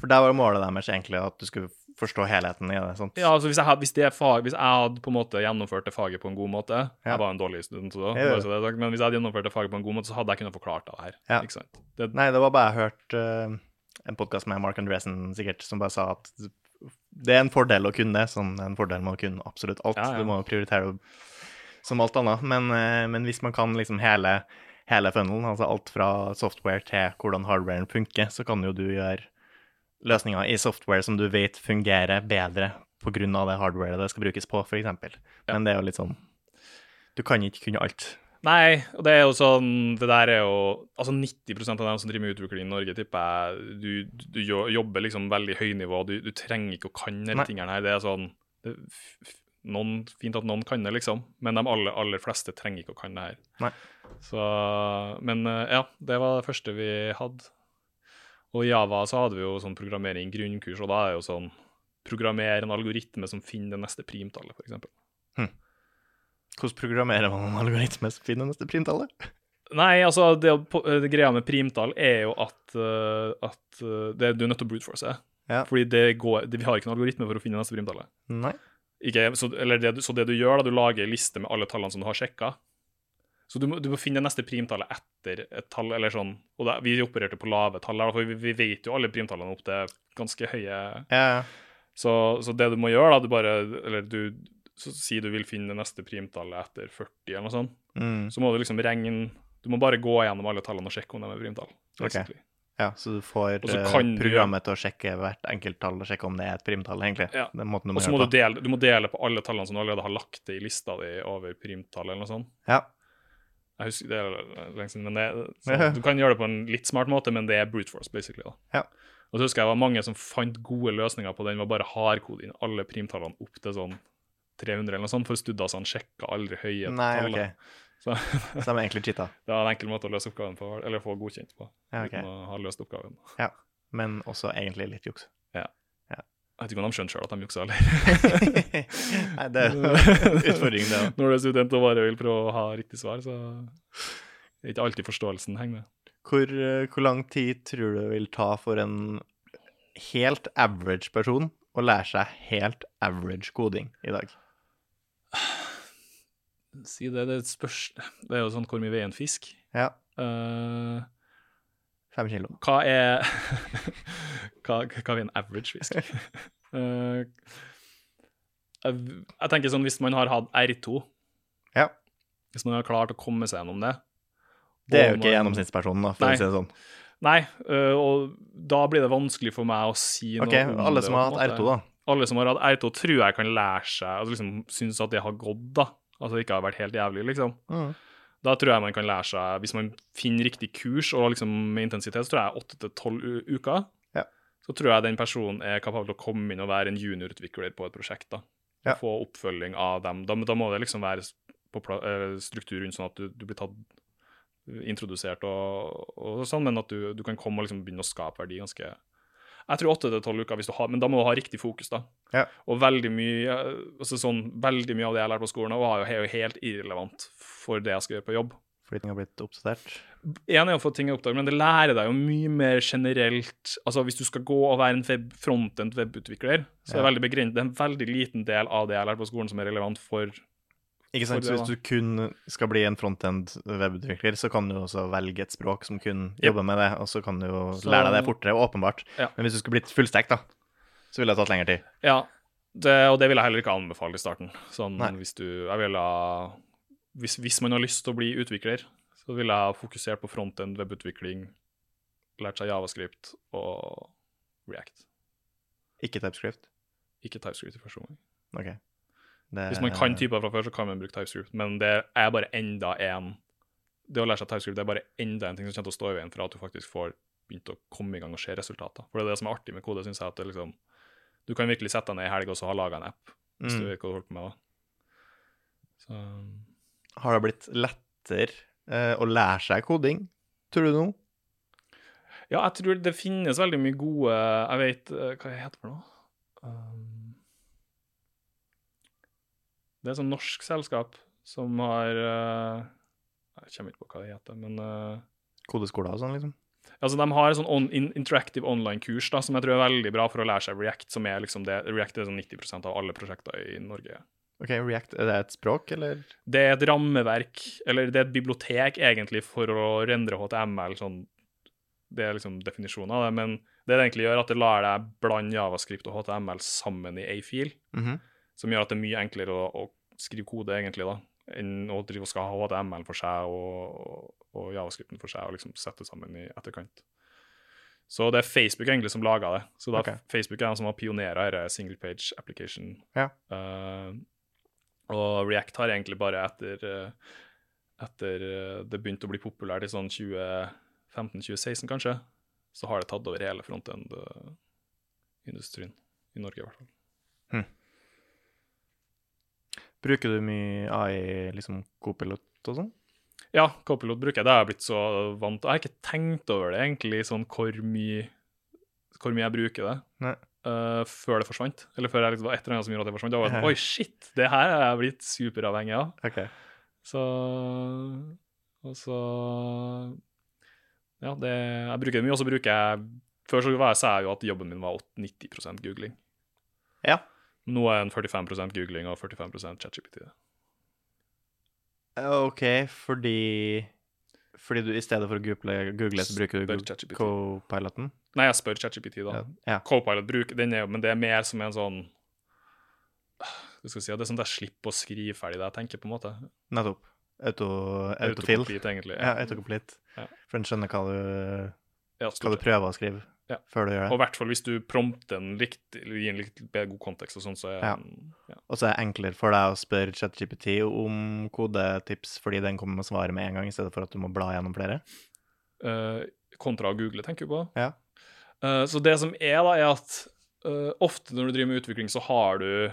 For der var målet deres egentlig at du skulle forstå helheten i det. sant? Ja, altså hvis jeg, had- hvis, det fag, hvis jeg hadde på en måte gjennomført det faget på en god måte Ja. Jeg var en dårlig student, så, Ja, ja. bare så det er sagt, men hvis jeg hadde gjennomført det faget på en god måte, så hadde jeg kunnet forklart det her. Ja. Ikke sant? Det, Nei, det var bare jeg hørte eh, en podkast med Mark Andresen sikkert, som bare sa at det er en fordel å kunne det, som det er en fordel med å kunne absolutt alt. Ja, ja. Du må jo prioritere det som alt annet. Men, eh, men hvis man kan liksom hele, hele funnelen, altså alt fra software til hvordan hardwaren funker, så kan jo du gjøre løsninger i software som du vet fungerer bedre pga. det hardwaret det skal brukes på, f.eks. eksempel. Ja. Men det er jo litt sånn Du kan ikke kunne alt. Nei, og det er jo sånn Det der er jo Altså 90 av dem som driver med utvikling i Norge, tipper jeg Du, du, jo- jobber liksom veldig høynivå. Du, du trenger ikke å kan Nei. disse tingene her. Det er sånn det, f- f- noen, Fint at noen kan det, liksom, men de aller, aller fleste trenger ikke å kan det her. Nei. Så, men eh, ja, det var det første vi hadde. Og i Java så hadde vi jo sånn programmering grunnkurs, og da er det jo sånn Programmer en algoritme som finner det neste primtallet, f.eks. Hvordan programmerer man en algoritme som finner neste primtallet? Nei, altså, det, å på- det greia med primtall er jo at, eh, at eh, det, du er nødt til å brute force. Ja. Fordi det går, det, vi har ikke noen algoritme for å finne neste primtallet. Nei. Ikke, så, eller det, du- så det du gjør, da, du lager en liste med alle tallene som du har sjekka. Så du må, du må finne neste primtallet etter et tall, eller sånn. Og da, vi opererte på lave tall, her, da, for vi, vi vet jo alle primtallene opp til ganske høye Ja, så, så det du må gjøre, da, du bare Eller du så, Si du vil finne neste primtallet etter 40, eller noe sånt mm. så må du liksom regne Du må bare gå gjennom alle tallene og sjekke om de er primtall. basically. ja så du får Og så eh, kan du programmet til å sjekke hvert enkelt tall og sjekke om det er et primtall, egentlig. Ja. Den måten du Og må så må du gjøre det på. dele, du må dele på alle tallene som du allerede har lagt til i lista di over primtall eller noe sånt. Ja. Jeg husker det er lenge siden, men det, Ja. så du kan gjøre det på en litt smart måte, men det er brute force, basically. da. Ja. Og så husker jeg det var mange som fant gode løsninger på den, var bare hardkode inn alle primtallene opp til sånn 300 eller noe sånt, for studiene sjekka aldri høye Nei, tall. OK. da. Så Så de er egentlig cheata. det var en enkel måte å løse oppgaven på, eller få godkjent på, Ja, ok. uten å ha løst oppgaven. Men også egentlig litt juks. Jeg vet ikke om de skjønner sjøl at de jukser, eller? Nei, det er jo utfordring, det òg. Når du er student og bare vil prøve å ha riktig svar, så det er ikke alltid forståelsen henger med. Hvor, eh, hvor lang tid tror du det vil ta for en helt average person å lære seg helt average koding i dag? Si det, det er et spørs... Det er jo sånn hvor mye veier en fisk? Ja, Eh, fem kilo. hva er hva, hva er en average fisk? Eh, jeg, jeg tenker sånn hvis man har hatt R2, Ja. Hvis man har klart å komme seg gjennom det. Det er Og jo ikke man- gjennomsnittspersonen, da, for Nei. å si det sånn. Nei, øh, og da blir det vanskelig for meg å si noe OK, om alle det, som på har en hatt måte. R2, da. Alle som har hatt R2, tror jeg kan lære seg altså liksom Synes at det har gått, da. Altså ikke har vært helt jævlig, liksom. Mm. Da tror jeg man kan lære seg, hvis man finner riktig kurs og liksom med intensitet, så tror jeg åtte til tolv u- uker. Ja. Så tror jeg den personen er kapabel til å komme inn og være en juniorutvikler på et prosjekt. da. Og Ja. Få oppfølging av dem. Da, da må det liksom være s- på pla eh, struktur rundt sånn at du, du blir tatt introdusert og, og sånn, men at du, du kan komme og liksom begynne å skape verdi ganske Jeg tror åtte til tolv uker, hvis du har, men da må du ha riktig fokus, da. Ja. Og veldig mye, eh, altså sånn, veldig mye av det jeg lærte på skolen, var jo he- jo helt irrelevant for det jeg skal gjøre på jobb. Fordi ting har blitt oppdatert. En er å få ting oppdaget, men det lærer deg jo mye mer generelt. Altså Hvis du skal gå og være en web, frontend webutvikler, så er det, Ja. veldig begrenset, det er en veldig liten del av det jeg lærte på skolen som er relevant for Ikke sant? For det, Så hvis du kun skal bli en frontend webutvikler, så kan du også velge et språk som kun jobber med det, og så kan du jo Så- lære deg det fortere, åpenbart. Ja. Men hvis du skulle blitt fullstekt, da, så ville det tatt lengre tid. Ja, det, og det vil jeg heller ikke anbefale i starten. Sånn Nei. hvis du Jeg vil ha hvis, hvis man har lyst til å bli utvikler, så vil jeg ha fokusert på frontend webutvikling, lært seg javascript og React. Ikke TypeScript. Ikke TypeScript i første omgang. OK. Det- Hvis man kan typer fra før, så kan man bruke TypeScript, men det er bare enda en Det å lære seg TypeScript det er bare enda en ting som kommer til å stå i veien for at du faktisk får begynt å komme i gang og se resultater. For det er det som er artig med kode, synes jeg, at det liksom Du kan virkelig sette deg ned i helga og så ha laga en app, hvis du mm. vet hva du holder på med da. Så um, Har det blitt lettere eh, å lære seg koding, tror du nå? Ja, jeg tror det finnes veldig mye gode Jeg vet eh, Hva heter det for noe? Um, det er et sånt norsk selskap som har eh, Jeg kommer ikke på hva det heter, men eh, Kodeskoler og sånn, liksom? Altså, De har et sånn on, in, interactive online-kurs da, som jeg tror er veldig bra for å lære seg React. som er liksom det, React er sånn 90 av alle prosjekter i Norge. OK, React, er det et språk, eller? Det er et rammeverk, eller det er et bibliotek egentlig for å rendre HTML. sånn, Det er liksom definisjonen av det, men det det egentlig gjør, er at det lar deg blande javascript og HTML sammen i ei fil, Mhm. som gjør at det er mye enklere å, å skrive kode, egentlig, da, enn å drive og skal ha HTML for seg og, og javascripten for seg, og liksom sette sammen i etterkant. Så det er Facebook egentlig som laga det. Så da Ok. Facebook er de som har pionera denne single page application. Ja. Eh, og React har egentlig bare etter eh, etter eh, det begynte å bli populært i sånn 2015-2016, kanskje, så har det tatt over hele frontend-industrien i Norge, i hvert fall. Bruker du mye AI, liksom Copilot og sånn? Ja, Copilot bruker jeg. Det har jeg blitt så vant til. Jeg har ikke tenkt over det, egentlig, sånn hvor mye, hvor mye jeg bruker det. Nei. eh, før det forsvant. Eller før jeg liksom, det var et eller annet som gjorde at det forsvant. Da var jeg Ja. sånn, Oi, shit! Det her er jeg blitt superavhengig av. OK. Så Og så Ja, det, jeg bruker det mye. Og så bruker jeg Før så var jeg, sa jeg jo at jobben min var 8 90 googling. Ja. Nå er en 45 googling og 45 ChatGPT. OK, fordi Fordi du i stedet for å google, google så bruker du Spør Google- ChatGPT. Co-piloten? Nei, jeg spør ChatGPT, da. Ja. ja. Copilot bruker den, er jo- men det er mer som en sånn Hva skal jeg si, Det er sånn at jeg slipper å skrive ferdig det jeg tenker, på en måte. Nettopp. Auto, autofill. Autocomplete, egentlig. Ja, autocomplete. Ja. For den skjønner hva du, Ja, hva du stort prøver å skrive Ja. før du gjør Og i det. hvert fall hvis du prompter den likt, eller gir den litt bedre god kontekst og sånn, så er Ja. den ja. Og så er det enklere for deg å spørre ChatGPT om kodetips, fordi den kommer med svaret med en gang, i stedet for at du må bla gjennom flere. Eh, kontra å google, tenker du på. Ja. Eh, så det som er, da, er at eh, ofte når du driver med utvikling, så har du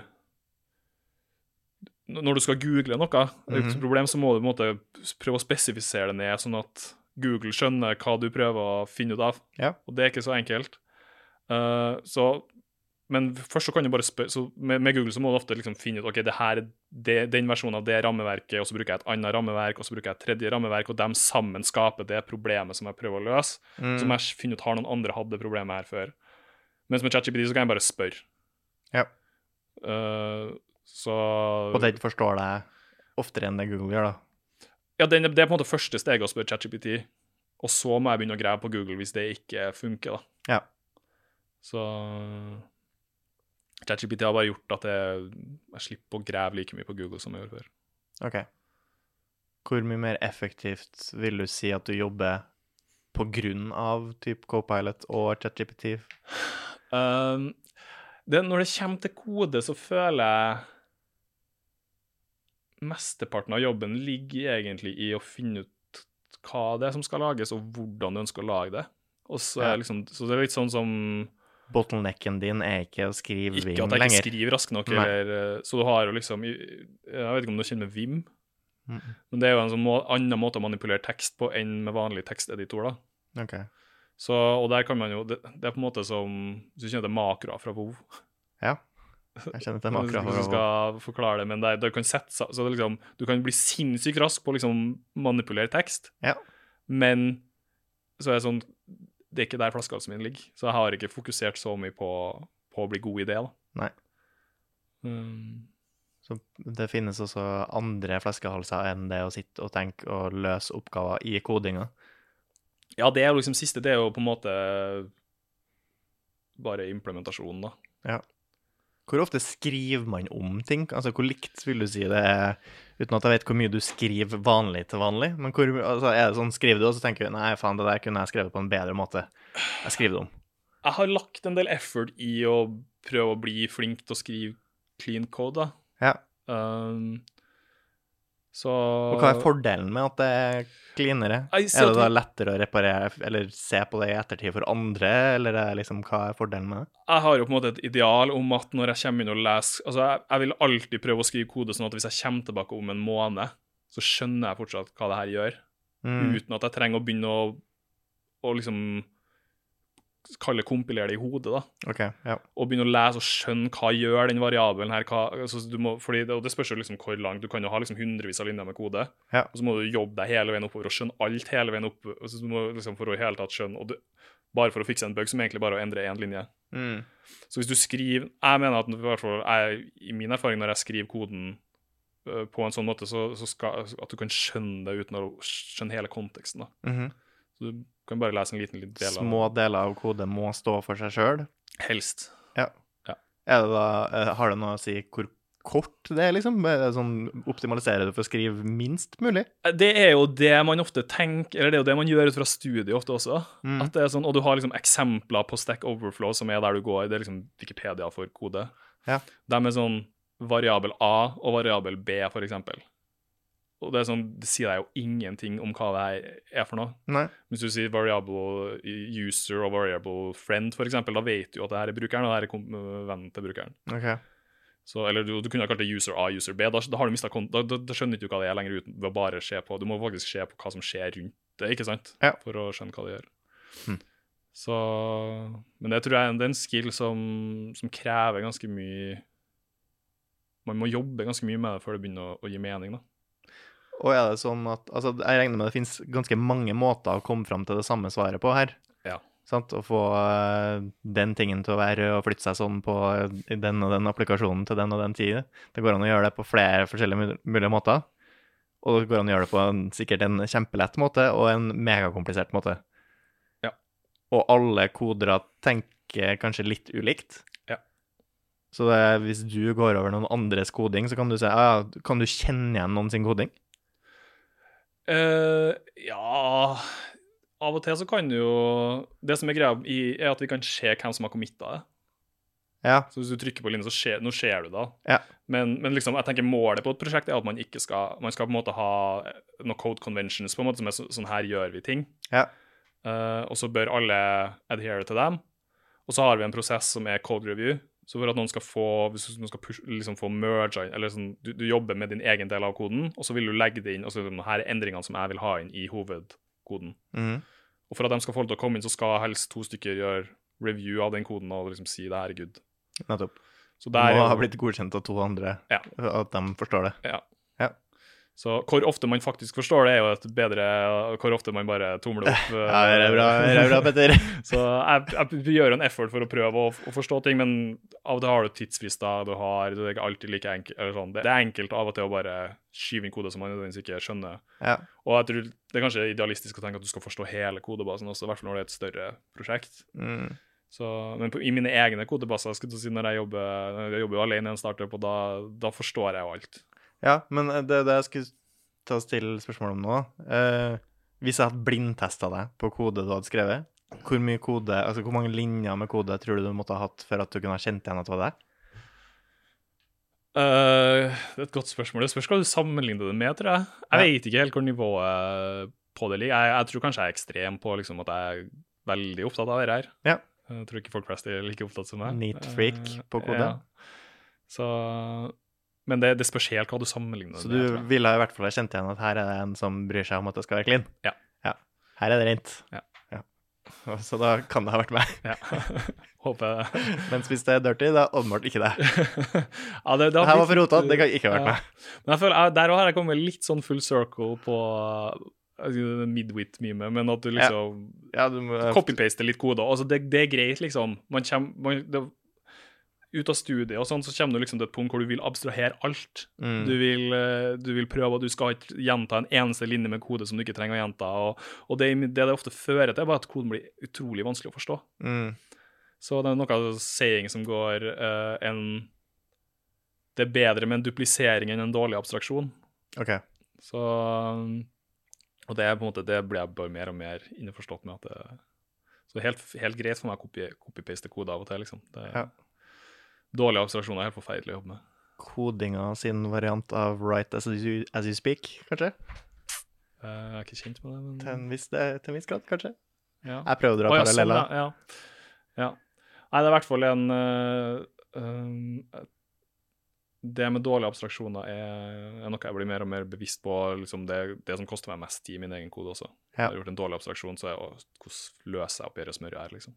N- Når du skal google noe, det er jo ikke Mhm. et problem, så må du på en måte s- prøve å spesifisere det ned, sånn at Google skjønner hva du prøver å finne ut av. Ja. Og det er ikke så enkelt. Eh, så Men først så kan du bare spørre så med, med Google så må du ofte liksom finne ut ok, det her er det, den versjonen av det rammeverket, og så bruker jeg et annet rammeverk, og så bruker jeg et tredje rammeverk, og de sammen skaper det problemet som jeg prøver å løse Mm. som jeg finner ut har noen andre hatt det problemet her før. Mens med ChatGPT så kan jeg bare spørre. Ja. Eh, så Og den forstår deg oftere enn det Google gjør, da. Ja, den, det er på en måte første steget å spørre ChatGPT, og så må jeg begynne å grave på Google hvis det ikke funker, da. Ja. Så ChatGPT har bare gjort at jeg, jeg slipper å grave like mye på Google som jeg gjorde før. OK. Hvor mye mer effektivt vil du si at du jobber på grunn av type Copilot og ChatGPT? Um, det, når det kommer til kode, så føler jeg mesteparten av jobben ligger egentlig i å finne ut hva det er som skal lages, og hvordan du ønsker å lage det. Og så, er Ja. liksom, så det er litt sånn som Bottlenecken din er ikke å skrive Ikke Vim at jeg ikke lenger. skriver raskt nok, Nei. eller, eh, så du har jo liksom Jeg vet ikke om du kjenner Vim, Mm, men det er jo en sånn må, annen måte å manipulere tekst på enn med vanlig teksteditor, da. Ok. Så, og der kan man jo Det, det er på en måte som Hvis du kjenner til makroer fra WoW Ja. Jeg kjenner til Jeg makro. vet ikke hvordan jeg skal forklare det, men det, er- det kan sette seg så det er liksom, Du kan bli sinnssykt rask på å liksom manipulere tekst, Ja. men så er det sånn Det er ikke der flaskehalsen min ligger, så jeg har ikke fokusert så mye på, på å bli god i det, da. Nei. Um, Så det finnes også andre flaskehalser enn det å sitte og tenke og løse oppgaver i kodinga. ja, det er jo liksom siste, det er jo på en måte bare implementasjonen, da. Hvor ofte skriver man om ting? Altså, Hvor likt vil du si det er, uten at jeg vet hvor mye du skriver vanlig til vanlig? Men hvor, altså, er det sånn, Skriver du, og så tenker du nei, faen, det der kunne jeg skrevet på en bedre måte. Jeg skriver det om. Jeg har lagt en del effort i å prøve å bli flink til å skrive clean code, da. Ja. Um, så Og hva er fordelen med at det er cleanere? Nei, så Er at det da vi- lettere å reparere eller se på det i ettertid for andre, eller er det liksom, hva er fordelen med det? jeg har jo på en måte et ideal om at når jeg kommer inn og leser Altså, jeg, jeg vil alltid prøve å skrive kode sånn at hvis jeg kommer tilbake om en måned, så skjønner jeg fortsatt hva det her gjør, Mm. uten at jeg trenger å begynne å, å liksom kalle kompilere det i hodet, da. OK. Ja. Og begynne å lese og skjønne hva gjør den variabelen her hva, altså, du må, fordi det, Og det spørs jo liksom hvor langt. Du kan jo ha liksom hundrevis av linjer med kode, Ja. og så må du jobbe deg hele veien oppover og skjønne alt hele veien opp, og så du må liksom for å i hele tatt skjønne og du, Bare for å fikse en bug som egentlig bare er å endre én linje. Mm. Så hvis du skriver Jeg mener at i hvert fall jeg, i min erfaring når jeg skriver koden øh, på en sånn måte, så, så skal at du kan skjønne det uten å skjønne hele konteksten. da. Mhm. Så Du kan bare lese en liten, liten del av Små deler av kode må stå for seg sjøl. det. Helst. Er det da, eh, har det noe å si hvor kort det er, liksom? Er det sånn, optimaliserer du for å skrive minst mulig? Det er jo det man ofte tenker, eller det er jo det man gjør ut fra studiet ofte også. Mm. At det er sånn, Og du har liksom eksempler på Stack Overflow, som er der du går. Det er liksom Wikipedia for kode. Ja. De er sånn variabel A og variabel B, for eksempel. Og det er sånn, det sier deg jo ingenting om hva det her er for noe. Nei. Hvis du sier variable user og variable friend, for eksempel, da vet du at det her er brukeren, og det her er kom- vennen til brukeren. OK. Så, eller du, du kunne ha kalt det user A, user B. Da, da, har du mistet kont da, da, da skjønner ikke du hva det er lenger uten ved å bare se på. Du må faktisk se på hva som skjer rundt det, ikke sant? Ja. For å skjønne hva det gjør. Hm. Så, men det tror jeg er en- det er en skill som, som krever ganske mye Man må jobbe ganske mye med det før det begynner å, å gi mening, da. Og er det sånn at Altså, jeg regner med det finnes ganske mange måter å komme fram til det samme svaret på her. Ja. Sant? Å få eh, den tingen til å være rød og flytte seg sånn på eh, den og den applikasjonen til den og den tid. Det går an å gjøre det på flere forskjellige mul- mulige måter. Og det går an å gjøre det på en, sikkert en kjempelett måte og en megakomplisert måte. Ja. Og alle koder tenker kanskje litt ulikt. Ja. Så det, er- hvis du går over noen andres koding, så kan du si ah, ja, Kan du kjenne igjen noen sin koding? eh ja Av og til så kan du jo Det som er greia, i, er at vi kan se hvem som har committa det. Ja. Så hvis du trykker på linja, så skjer, nå ser du det. Ja. Men, men liksom, jeg tenker målet på et prosjekt er at man ikke skal Man skal på en måte ha noen code conventions, på en måte, som er så, sånn her gjør vi ting. Ja. Eh, og så bør alle adhere til dem. Og så har vi en prosess som er code review. Så for at noen skal få hvis noen skal push, liksom få merge, eller sånn, du, du jobber med din egen del av koden, og så vil du legge det inn og så liksom, her er endringene som jeg vil ha inn i hovedkoden. Mhm. Og for at de skal få lov til å komme inn, så skal helst to stykker gjøre review av den koden og liksom si det her er good. Nettopp. Så Det der er må jo- ha blitt godkjent av to andre, Ja. at de forstår det. Så hvor ofte man faktisk forstår det, er jo et bedre Hvor ofte man bare tumler opp. eh, Ja, det er bra, det er bra Petter. Så jeg, jeg gjør en effort for å prøve å, å forstå ting, men av og til har du tidsfrister, du har Det er ikke alltid like enkelt. Eller sånn. det, det er enkelt av og til å bare skyve inn kode som man nødvendigvis ikke skjønner. Ja. Og jeg tror det er kanskje idealistisk å tenke at du skal forstå hele kodebasen også, i hvert fall når det er et større prosjekt. Mm. Så, men på, i mine egne kodebaser, skulle jeg til å si, når jeg jobber Jeg jobber jo alene i en startup, og da, da forstår jeg jo alt. ja, men eh, det, det jeg skulle til å stille spørsmål om nå. Eh, hvis jeg hadde blindtesta deg på kode du hadde skrevet, hvor, mye kode, altså hvor mange linjer med kode tror du du måtte ha hatt for at du kunne ha kjent igjen at det var deg? Eh, det er et godt spørsmål. Det spørs hva du sammenligner det med, tror jeg. Jeg Ja. vet ikke helt hvor nivået på det ligger. Jeg, jeg tror kanskje jeg er ekstrem på liksom, at jeg er veldig opptatt av det her. Ja. Jeg tror ikke folk flest er like opptatt som meg. Neat freak Eh, på kode. Så, men det, det spørs helt hva du sammenligner Så det med. du tror jeg. ville i hvert fall ha kjent igjen at her er det en som bryr seg om at det skal være clean? Ja. Her er det rent. Ja. Og Så da kan det ha vært meg. Ja. Håper Mens hvis det er dirty, det er åpenbart ikke det. ja, det, det Det har her var blitt for litt- rotete, det kan ikke ha vært Ja. meg. Men jeg føler, jeg- Der også har jeg kommet litt sånn full circle på eh, midwit-meme, men at du liksom Ja, du må, copy-paste litt koder. Altså, det, det er greit, liksom. Man kommer, man, det, ut av studiet og sånn, så kommer du liksom til et punkt hvor du vil abstrahere alt. Mm. Du, vil, eh, du vil prøve, og du skal ikke gjenta en eneste linje med kode som du ikke trenger å gjenta. Og, og det, det det ofte fører til, er bare at koden blir utrolig vanskelig å forstå. mm. Så det er noe saying som går eh, en Det er bedre med en duplisering enn en dårlig abstraksjon. OK. Så um, Og det er på en måte, det ble jeg bare mer og mer innforstått med at det Så det er helt, helt greit for meg å copy- copy-paste koder av og til, liksom. Det, Ja. Dårlige abstraksjoner er helt forferdelig å jobbe med. Kodinga sin variant av right as you, as you speak, kanskje? Eh, jeg er ikke kjent med det, Til men en viss, til en viss grad, kanskje? ja. Jeg prøver å dra Å, ja, sånn, paralleller. ja, ja. ja. Nei, det er i hvert fall en eh, um, Det med dårlige abstraksjoner er, er noe jeg blir mer og mer bevisst på. Liksom det, det som koster meg mest i min egen kode også. Ja. Jeg har gjort en dårlig abstraksjon, så er jeg, å, hvordan løser jeg opp i det smøret her, liksom.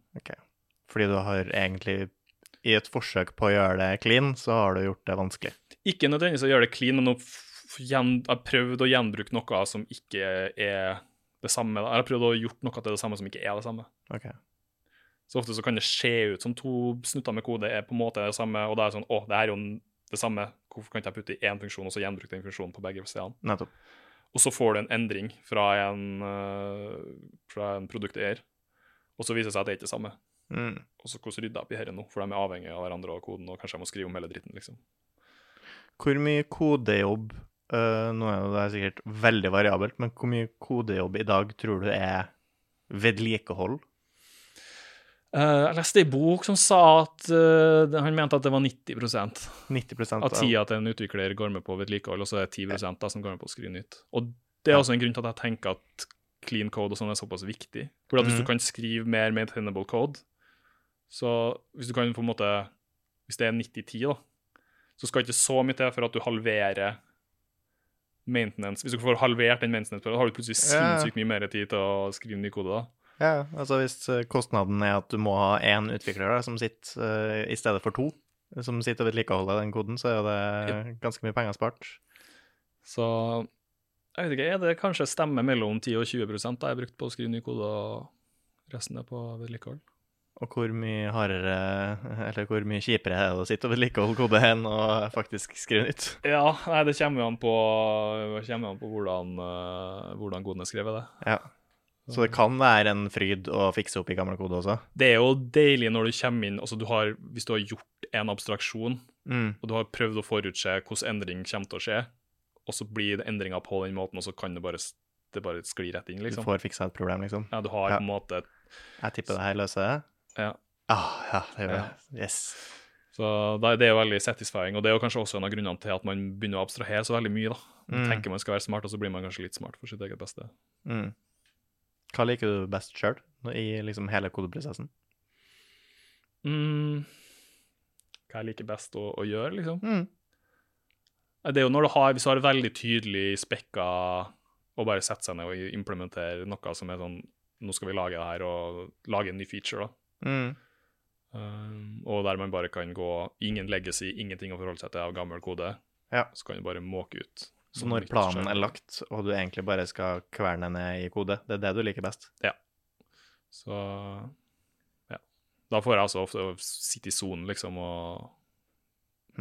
Fordi du har egentlig, i et forsøk på å gjøre det clean, så har du gjort det vanskelig. Ikke nødvendigvis å gjøre det clean, men å f- gjen, jeg har prøvd å gjenbruke noe som ikke er det samme. da. Jeg har prøvd å gjort noe til det samme som ikke er det samme. Ok. Så ofte så kan det se ut som to snutter med kode er på en måte det samme, og da er det sånn Å, det her er jo n- det samme, hvorfor kan ikke jeg putte i én funksjon og så gjenbruke den funksjonen på begge stedene? Nettopp. Og så får du en endring fra en, øh, fra en produkteier, og så viser det seg at det er ikke det samme. Mm. Og så hvordan rydder jeg opp i dette nå, for de er avhengige av hverandre og koden, og kanskje jeg må skrive om hele dritten, liksom. Hvor mye kodejobb øh, Nå er jo det sikkert veldig variabelt, men hvor mye kodejobb i dag tror du er vedlikehold? Eh, jeg leste ei bok som sa at eh, det- han mente at det var 90 90 av av tida til en utvikler går med på vedlikehold, og så er det 10 da, som går med på å skrive nytt. Og det er også en grunn til at jeg tenker at clean code og sånn er såpass viktig. For at hvis Mhm. du kan skrive mer maintainable code, så hvis du kan på en måte Hvis det er 90-10, da, så skal ikke så mye til for at du halverer maintenance. Hvis du får halvert den maintenance-perioden, har du plutselig Ja. sinnssykt mye mer tid til å skrive ny kode da. Ja, altså hvis øh, kostnaden er at du må ha én utvikler da, som sitter øh, i stedet for to, som sitter og vedlikeholder den koden, så er det ganske mye penger spart. Så jeg vet ikke, er det kanskje stemme mellom 10 og 20 da jeg brukte på å skrive ny kode, og resten er på vedlikehold? Og hvor mye hardere, eller hvor mye kjipere er det å sitte og vedlikeholde kode enn å faktisk skrive nytt? Ja, nei, det kommer jo an på, kommer jo an på hvordan, eh, hvordan koden er skrevet, det. Ja. Så det kan være en fryd å fikse opp i gamle kode også? Det er jo deilig når du kommer inn, altså du har, hvis du har gjort en abstraksjon, Mm. og du har prøvd å forutse hvordan endring kommer til å skje, og så blir det endringer på den måten, og så kan det bare, s- det bare skli rett inn, Du liksom. får fiksa et problem, liksom? Ja, du har Ja. på en måte Jeg tipper det her løser det. Ja. Ah, ja, det gjør det. Yes. Så da- det er jo veldig satisfying, og det er jo kanskje også en av grunnene til at man begynner å abstrahere så veldig mye, da. Man Mm. tenker man skal være smart, og så blir man kanskje litt smart for sitt eget beste. Mm. Hva liker du best sjøl i liksom hele kodeprosessen? Mm. Hva jeg liker best å, å gjøre, liksom? Mm. Nei, Det er jo når du har, hvis du har veldig tydelig spekka å bare sette seg ned og implementere noe som er sånn Nå skal vi lage det her, og lage en ny feature, da. Mm. Um, og der man bare kan gå Ingen legacy, ingenting å forholde seg til av gammel kode. Ja. Så kan du bare måke ut. Så noe når nytt planen skjer. er lagt, og du egentlig bare skal kverne ned i kode, det er det du liker best? Så ja. Da får jeg altså ofte sitte i sonen, liksom, og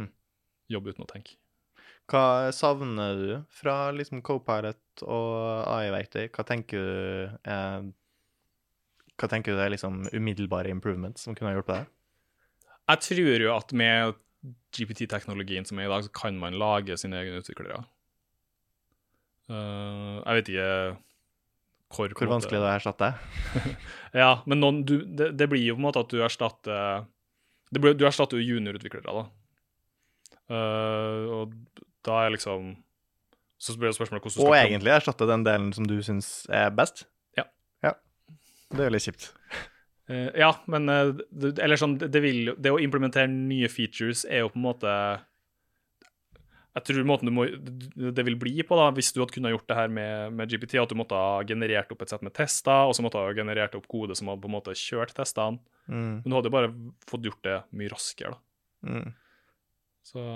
hm, Mhm. jobbe uten å tenke. Hva savner du fra liksom Copilot og AI-verktøy? Hva tenker du eh, Hva tenker du er liksom umiddelbare improvements som kunne ha hjulpet deg? Jeg tror jo at med GPT-teknologien som er i dag, så kan man lage sine egne utviklere. Eh, jeg vet ikke hvor, på Hvor en måte- vanskelig det er å erstatte? Ja, men noen, du, det, det blir jo på en måte at du erstatter det blir, Du erstatter jo juniorutviklere, da. Eh, og da er liksom Så blir det spørsmålet hvordan du Og skal egentlig erstatte den delen som du syns er best? Ja. ja. Det er jo litt kjipt. Eh, ja, men eh, det, eller sånn, det, det, vil, jo- det å implementere nye features er jo på en måte Jeg tror måten du må, det vil bli på, da, hvis du hadde kunnet gjort det her med, med GPT, at du måtte ha generert opp et sett med tester, og så måtte ha generert opp kode som hadde på en måte kjørt testene. Mm, Men du hadde jo bare fått gjort det mye raskere, da. mm. Så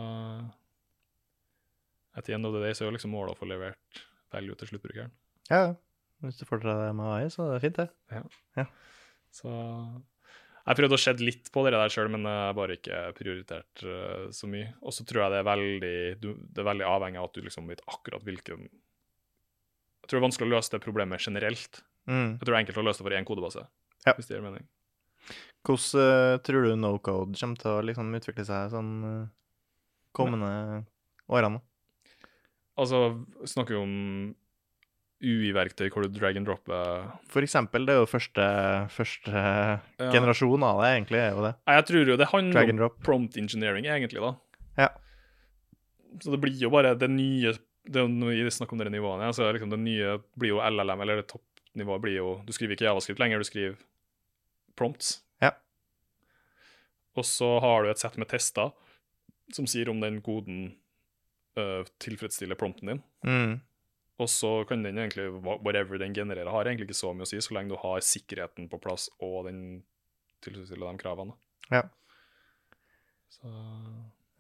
At the end of the day så er jo liksom målet å få levert value til sluttbrukeren. Ja, ja. Hvis du får til det med AI, så er det fint, det. Så jeg prøvde å sette litt på det der sjøl, men jeg har bare ikke prioritert eh, så mye. Og så tror jeg det er veldig du, Det er veldig avhengig av at du liksom vet akkurat hvilken Jeg tror det er vanskelig å løse det problemet generelt. Mm. Jeg tror det er enkelt å løse det for én kodebase. Ja. Hvis det gir mening. Hvordan eh, tror du no code kommer til å liksom utvikle seg sånn eh, kommende årene? Altså, snakker vi om UI-verktøy hvor du drag and eh, dropper For eksempel, det er jo første, første Ja. Mm. generasjon av det, egentlig. er jo det. Nei, Jeg tror jo det handler Drag om and drop. prompt engineering, egentlig, da. Ja. Så det blir jo bare det nye det er jo noe- I snakk om de nivåene, ja, så er liksom det nye blir jo LLM, eller det toppnivået blir jo Du skriver ikke javascript lenger, du skriver prompts. Ja. Og så har du et sett med tester som sier om den koden øh, tilfredsstiller prompten din. Mm. Og så kan den egentlig, hva- whatever den genererer, har egentlig ikke så mye å si, så lenge du har sikkerheten på plass og den tilfredsstiller de kravene. Ja. Så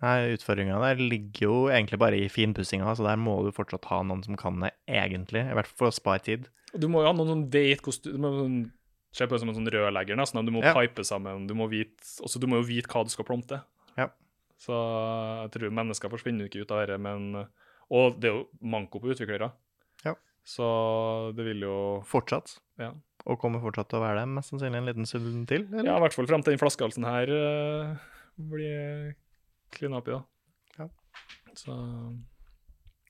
Nei, Utfordringa der ligger jo egentlig bare i finpussinga, så der må du fortsatt ha noen som kan det egentlig. I hvert fall for å spare tid. Og Du må jo ha noen som vet hvordan du- du må sånn- Se på det som en sånn rørlegger, nesten. at Du må Ja. pipe sammen. Du må, vite, også, du må jo vite hva du skal prompte. Ja. Så jeg tror mennesker forsvinner jo ikke ut av dette, men Og det er jo manko på utviklere. Ja. Så det vil jo Fortsatt. Ja. Og kommer fortsatt til å være det, mest sannsynlig en liten stund til. Eller? Ja, i hvert fall frem til den flaskehalsen her eh, blir klina opp i, da. Ja. Så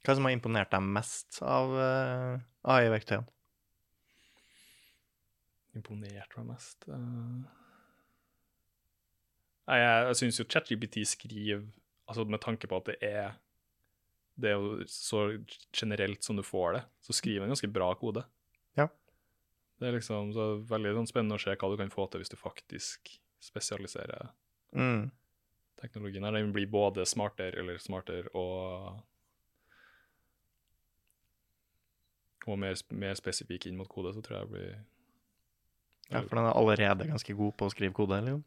Hva som har imponert deg mest av eh, AI-verktøyene? imponert meg mest. eh. Nei, jeg, jeg syns jo ChatGPT skriver Altså med tanke på at det er Det er jo så generelt som du får det, så skriver en ganske bra kode. Ja. Det er liksom så det er veldig sånn spennende å se hva du kan få til hvis du faktisk spesialiserer Mm. teknologien her. Den blir både smartere eller smartere og og mer, mer spesifikk inn mot kode, så tror jeg det blir Ja, for den er allerede ganske god på å skrive kode, eller jo?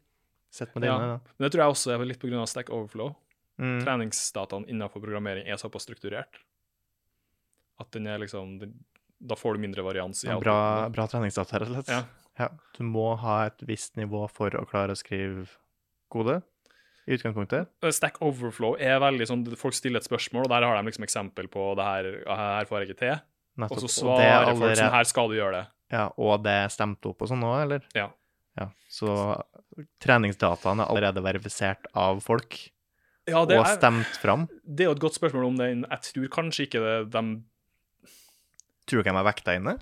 Sett med dine, Ja. da. Men det tror jeg også er litt pga. Stack Overflow. Mm. Treningsdataen innenfor programmering er såpass strukturert at den er liksom den, Da får du mindre varians. i Ja, bra, outputen. bra treningsdata, rett og slett. Ja. Ja. Du må ha et visst nivå for å klare å skrive kode, i utgangspunktet. Stack Overflow er veldig sånn Folk stiller et spørsmål, og der har de liksom eksempel på det her, her får jeg ikke til. Og Nettopp. så Og det er svarer folk allerede- sånn Her skal du gjøre det. Ja, og det er stemt opp og sånn òg, eller? Ja. ja. Så treningsdataen er allerede verifisert av folk Ja, det og er, stemt fram. det er jo et godt spørsmål om den Jeg tror kanskje ikke det, de, Tror du ikke de er vekta inne?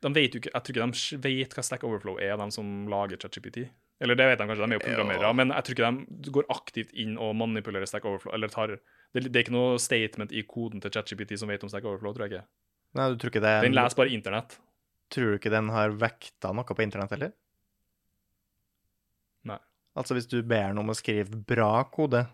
de vet jo ikke, Jeg tror ikke de vet hva Stack Overflow er, de som lager ChatGPT. Eller det vet de kanskje, de er jo programmerere, Ja. men jeg tror ikke de går aktivt inn og manipulerer Stack Overflow. eller tar, Det, det er ikke noe statement i koden til ChatGPT som vet om Stack Overflow, tror jeg ikke. Nei, du tror ikke det Den leser bare internett. Tror du ikke den har vekta noe på internett heller? Nei. Altså, hvis du ber den om å skrive bra kode,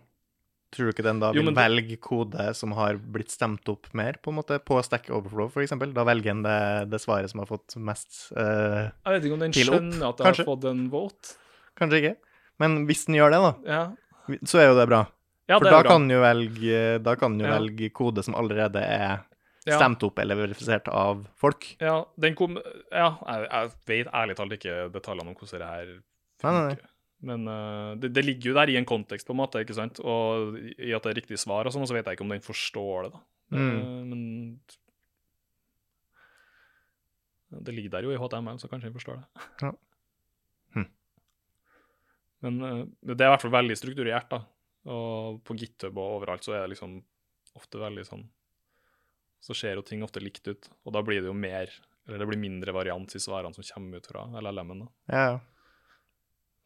tror du ikke den da Jo, vil men det- velge kode som har blitt stemt opp mer, på en måte, på Stack Overflow, for eksempel? Da velger den det, det svaret som har fått mest eh, Jeg vet ikke om den Pil opp, skjønner at jeg har kanskje? fått en vote. Kanskje ikke. Men hvis den gjør det, da, Ja, så er jo det bra. ja For det er da jo bra. kan, du velge, da kan du Ja. velge kode som allerede er Ja. stemt opp eller verifisert av folk. Ja, den kom, ja jeg, jeg vet ærlig talt ikke detaljene om hvordan det her Nei, nei, nei. funker. Men eh, det, det ligger jo der i en kontekst, på en måte, ikke sant? og i at det er riktig svar, og sånn, og så vet jeg ikke om den forstår det. da. Mm. Eh, men det ligger der jo i HTML, så kanskje den forstår det. Ja. Hm. Men eh, det er i hvert fall veldig strukturert, da. Og på GitHub og overalt så er det liksom ofte veldig sånn så ser jo ting ofte likt ut. Og da blir det jo mer, eller det blir mindre varians i svarene som kommer ut fra LLM-en. da. Ja, ja.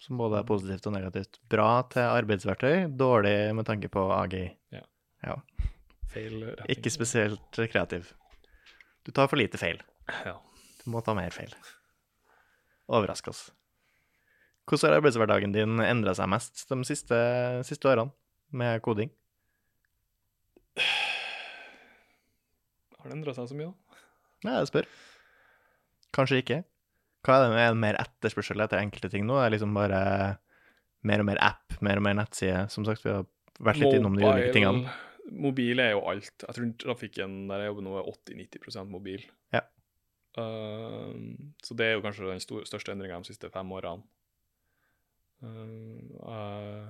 Som både er positivt og negativt. Bra til arbeidsverktøy, dårlig med tanke på AGI. Feil retning. Ikke spesielt kreativ. Du tar for lite feil. Ja. Du må ta mer feil. Overrask oss. Hvordan har arbeidshverdagen din endra seg mest de siste, siste årene med koding? Har det endra seg så mye, da? Nei, jeg spør. Kanskje ikke. Hva er det med mer etterspørsel etter enkelte ting nå? Det er liksom bare mer og mer app, mer og mer nettside. Som sagt, vi har vært litt innom de ulike tingene. Mobil er jo alt. Jeg tror trafikken der jeg jobber nå, er 80-90 mobil. Ja. Ehm, så det er jo kanskje den stor, største endringa de siste fem årene. Ehm, eh,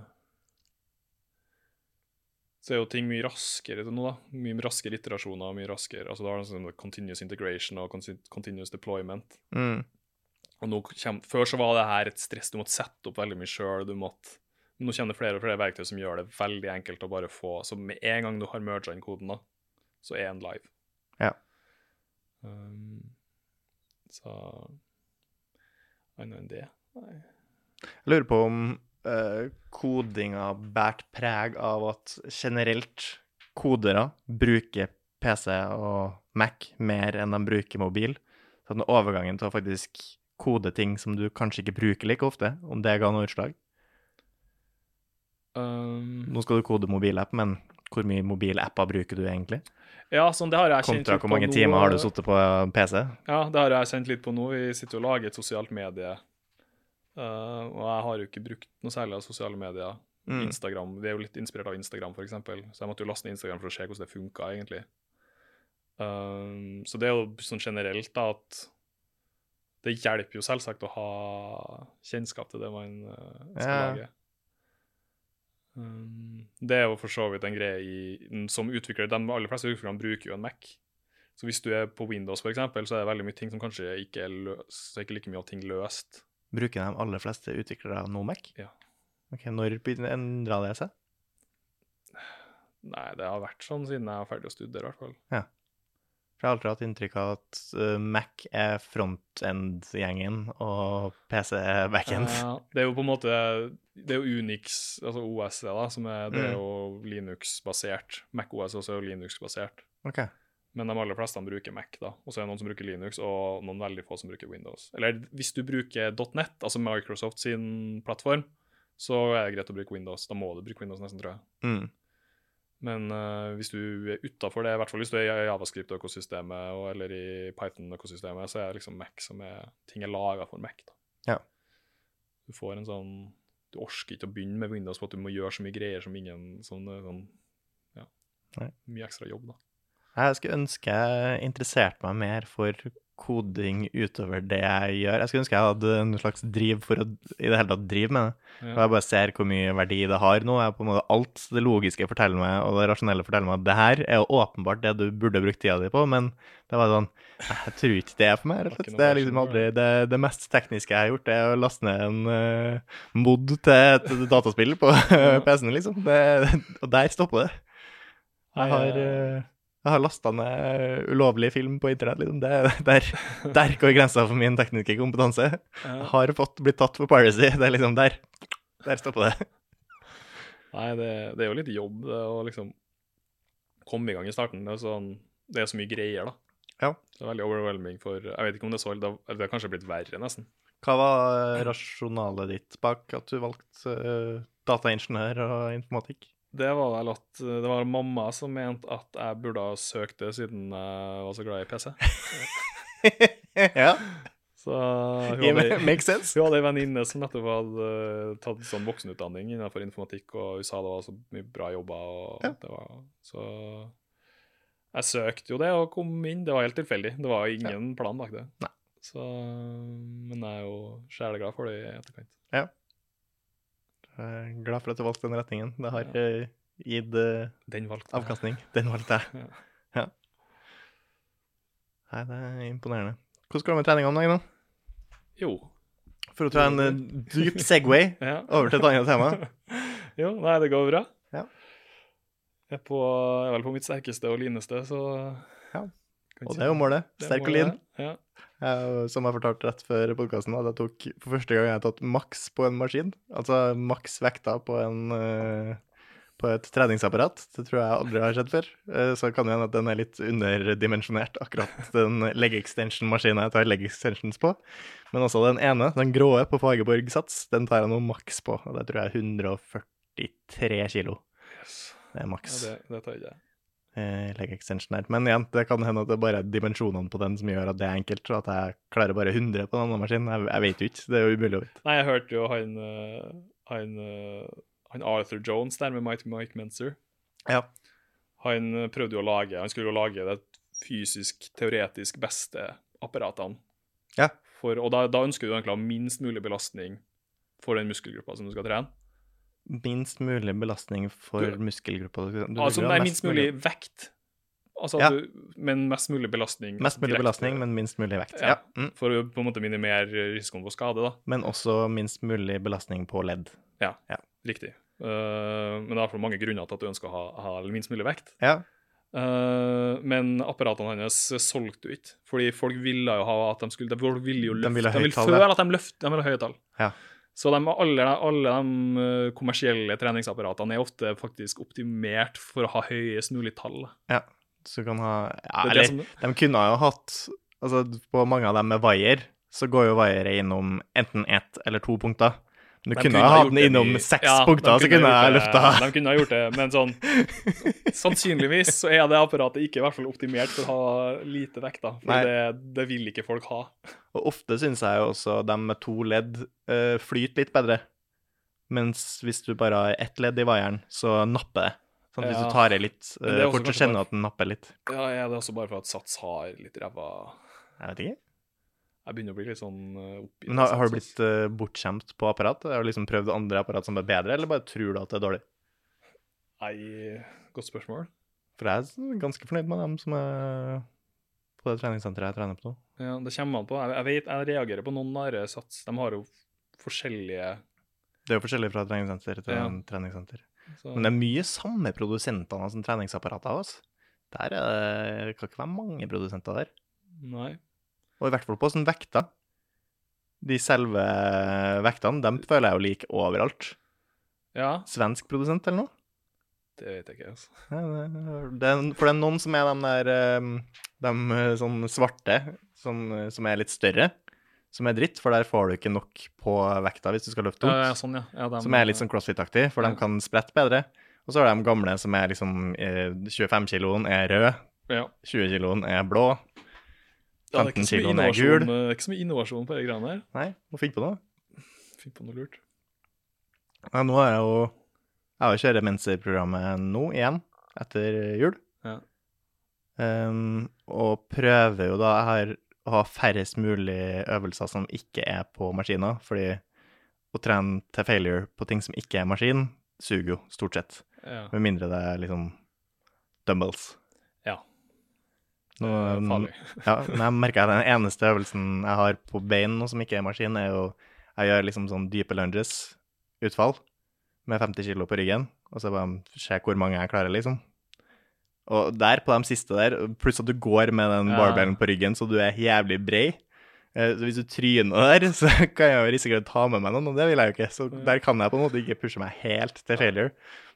så er jo ting mye raskere til nå, da. Mye raskere iterasjoner. mye raskere, altså Da har du sånn continuous integration og consi- continuous deployment. Mm. Og nå kjem, Før så var det her et stress, du måtte sette opp veldig mye sjøl. Nå kommer det flere og flere verktøy som gjør det veldig enkelt å bare få Så med en gang du har merga inn koden, da, så er den live. Ja. Um, så Annet enn det Nei. Jeg lurer på om eh, kodinga bært preg av at generelt kodere bruker PC og Mac mer enn de bruker mobil. Så at den overgangen til å faktisk kode ting som du kanskje ikke bruker like ofte, om det ga noe utslag. Um, Nå skal du kode mobilapp, men hvor mye mobilapper bruker du egentlig? ja, sånn, det har jeg kjent Kontra litt hvor på mange nå, timer har du eh, sittet på PC? Ja, det har jeg kjent litt på nå. Vi sitter jo og lager et sosialt medie. Eh, og jeg har jo ikke brukt noe særlig av sosiale medier. Mm. Instagram, Vi er jo litt inspirert av Instagram, for eksempel. Så jeg måtte jo laste ned Instagram for å se hvordan det funka, egentlig. Um, så det er jo sånn generelt da, at det hjelper jo selvsagt å ha kjennskap til det man eh, skal Ja. lage. Um, det er jo for så vidt en greie i, som utvikler. De aller fleste utviklerne bruker jo en Mac. Så hvis du er på Windows, for eksempel, så er det veldig mye ting som kanskje ikke er løst, så er ikke like mye av ting løst. Bruker de aller fleste utviklere av Nomac? Ja. Ok, når endra det seg? Nei, det har vært sånn siden jeg var ferdig å studere, i hvert fall. For jeg har alltid hatt inntrykk av at eh, Mac er front-end-gjengen, og PC er back-end. Ja, Eh, det er jo på en måte Det er jo Unix, altså OS, det da, som er, det er jo Linux-basert. Mac OS også er jo Linux-basert. Ok. Men de aller fleste bruker Mac, da. Og så er det noen som bruker Linux, og noen veldig få som bruker Windows. Eller hvis du bruker .net, altså Microsoft sin plattform, så er det greit å bruke Windows. Da må du bruke Windows nesten, tror jeg. Mm. Men eh, hvis du er utafor det, i hvert fall hvis du er i Javascript-økosystemet og- eller i Python-økosystemet, så er det liksom Mac som er Ting er laga for Mac, da. Ja. Du får en sånn Du orker ikke å begynne med Windows på at du må gjøre så mye greier som ingen sånn, eh, sånn Ja. Nei. Mye ekstra jobb, da. Jeg skulle ønske jeg interesserte meg mer for koding utover det jeg gjør. Jeg skulle ønske jeg hadde en slags driv for å i det hele tatt drive med det. Og Ja. jeg bare ser hvor mye verdi det har nå. Jeg på en måte Alt det logiske forteller meg, og det rasjonelle forteller meg at det her er jo åpenbart det du burde brukt tida di på, men det var sånn Jeg tror ikke det er for meg, rett og slett. Det er liksom aldri det, det mest tekniske jeg har gjort, det er å laste ned en eh, mod til et dataspill på Ja. PC-en, liksom. Det, og der stopper det. Jeg har, eh, jeg har lasta ned ulovlig film på internett, liksom. Det, der, der går grensa for min tekniske kompetanse. Jeg Ja. har fått blitt tatt for piracy. Det er liksom der. Der stopper det. Nei, det, det er jo litt jobb det, å liksom komme i gang i starten. Det er, sånn, det er så mye greier, da. Ja. Det er veldig overwhelming for Jeg vet ikke om det er så Det har- det har kanskje blitt verre, nesten. Hva var eh, rasjonalet ditt bak at du valgte eh, dataingeniør og informatikk? Det var vel at eh, det var mamma som mente at jeg burde ha søkt det siden jeg var så glad i PC. ja, Så hun it hadde, ma- hun makes sense. hadde en venninne som nettopp hadde eh, tatt sånn voksenutdanning innenfor informatikk, og hun sa det var så mye bra jobber. Og Ja. det var, så jeg søkte jo det og kom inn. Det var helt tilfeldig. Det var ingen plan bak det. Nei. Så, men jeg er jo sjeleglad for det i etterkant. Jeg er glad for at du valgte den retningen. Det har eh, gitt eh, Den valgte jeg. avkastning. Den valgte jeg. Ja. Ja. Nei, det er imponerende. Hvordan går det med treninga om dagen, da? Jo. For å ta en eh, dyp Segway Ja. over til et annet tema. jo, nei, det går bra. Ja. Jeg er, på, jeg er vel på mitt sterkeste og lineste, så Kan Og si det er jo målet. Det er Sterk og målet, lin. Ja. Jeg- Som jeg fortalte rett før podkasten, at jeg tok for første gang jeg har tatt maks på en maskin. Altså maks vekta på en eh, på et treningsapparat. Det tror jeg aldri har skjedd før. Eh, Så kan det hende at den er litt underdimensjonert, akkurat den leg extension-maskinen jeg tar leg extensions på. Men også den ene, den gråe på Fagerborg Sats, den tar jeg nå maks på. Og det tror jeg er 143 kilo. Yes. Det er Ja, maks det, det tar ikke jeg. eh, leg extension her. Men igjen, det kan hende at det bare er dimensjonene på den som gjør at det er enkelt, og at jeg klarer bare 100 på den andre maskinen. Jeg, jeg vet jo ikke, det er jo umulig å vite. Nei, jeg hørte jo han eh, han, eh, han Arthur Jones der med Mike, Mike Menzer. Ja. Han eh, prøvde jo å lage Han skulle jo lage det fysisk, teoretisk beste apparatene. Ja. For, og da, da ønsker du egentlig å ha minst mulig belastning for den muskelgruppa som du skal trene. Minst mulig belastning for Du- muskelgruppa. Du vil altså, jo ha nei, mest minst mulig vekt. Altså, Ja. at du, men mest mulig belastning. altså Mest mulig direkte, belastning, men minst mulig vekt. Ja. Ja. Mm. For å på en måte minimere risikoen for skade, da. Men også minst mulig belastning på ledd. Riktig. Eh, men det er i hvert fall mange grunner til at du ønsker å ha, ha minst mulig vekt. Ja. Eh, men apparatene hans solgte jo ikke, fordi folk ville jo ha at de skulle De folk ville jo De løfte, de ville ville, ha høytall, føle ja. at de løfter, de vil ha høye tall. Ja. Så de, alle, alle de eh, kommersielle treningsapparatene er ofte faktisk optimert for å ha høyest mulig tall. Så du kan ha ja, Det er Eller det som, de kunne ha jo hatt Altså, på mange av dem med vaier, så går jo vaiere innom enten ett eller to punkter. Men du de kunne ha hatt gjort den det innom i- seks ja, de punkter, så kunne ha jeg gjort det- løfta De kunne ha gjort det, men sånn Sannsynligvis så er det apparatet ikke i hvert fall optimert for å ha lite vekt, da. For Nei. det, det vil ikke folk ha. Og ofte syns jeg jo også de med to ledd eh, flyter litt bedre. Mens hvis du bare har ett ledd i vaieren, så napper det. Sånn, hvis Ja. du tar i litt Men det er eh, også fort, så kanskje kjenner bare- du at den napper litt. Ja, er det også bare for at Sats har litt ræva Jeg vet ikke. Jeg begynner å bli litt sånn eh, oppgitt. Men har, av har du Sats, blitt eh, bortskjemt på apparat? Har du liksom prøvd andre apparat som er bedre, eller bare tror du at det er dårlig? altså. Nei, godt spørsmål. For jeg er sånn ganske fornøyd med dem som er på det treningssenteret jeg trener på nå. Ja, det kommer an på. Jeg, jeg vet, jeg reagerer på noen nære Sats. De har jo forskjellige Det er jo forskjellig fra treningssenter til Ja. treningssenter. så, Men det er mye samme produsentene som treningsapparatet av oss. Der er det kan ikke være mange produsenter der. Nei. Og i hvert fall på sånne vekter. De selve vektene, dem føler jeg jo like overalt. Ja, Svensk produsent eller noe? det vet jeg ikke. altså. Ja, det- Det er, for det er noen som er de der eh, De eh, sånn svarte, som, eh, som er litt større, som er dritt, for der får du ikke nok på vekta hvis du skal løfte Ja, ja, tungt. sånn, ja. ja de, Som er litt sånn crossfit-aktig, for Ja. de kan sprette bedre. Og så har de gamle som er liksom eh, 25 kiloen er rød, ja. 20 kiloen er blå. Ja, det er 15 ikke så mye kiloen er innovasjon, gul. eh, Ikke så mye innovasjon på de greiene her. Nei, må finne på noe. Finn på noe lurt. Ja, nå er jeg jo Jeg har jo kjørt Menser-programmet nå igjen, etter jul. Ja. Ehm, og prøver jo da Jeg har å ha færrest mulig øvelser som ikke er på maskiner, fordi å trene til failure på ting som ikke er maskin, suger jo stort sett. Ja. Med mindre det er liksom dumbbells. Ja. Nå, Eh, farlig. ja, men jeg merker at den eneste øvelsen jeg har på bein nå som ikke er maskin, er jo Jeg gjør liksom sånn dype lunges, utfall, med 50 kilo på ryggen, og så bare se hvor mange jeg klarer, liksom. Og der, på de siste der, pluss at du går med den Ja. barbellen på ryggen, så du er jævlig brei. Eh, Så hvis du tryner der, så kan jeg jo risikere å ta med meg noen, og det vil jeg jo ikke. Så der kan jeg på en måte ikke pushe meg helt til failure,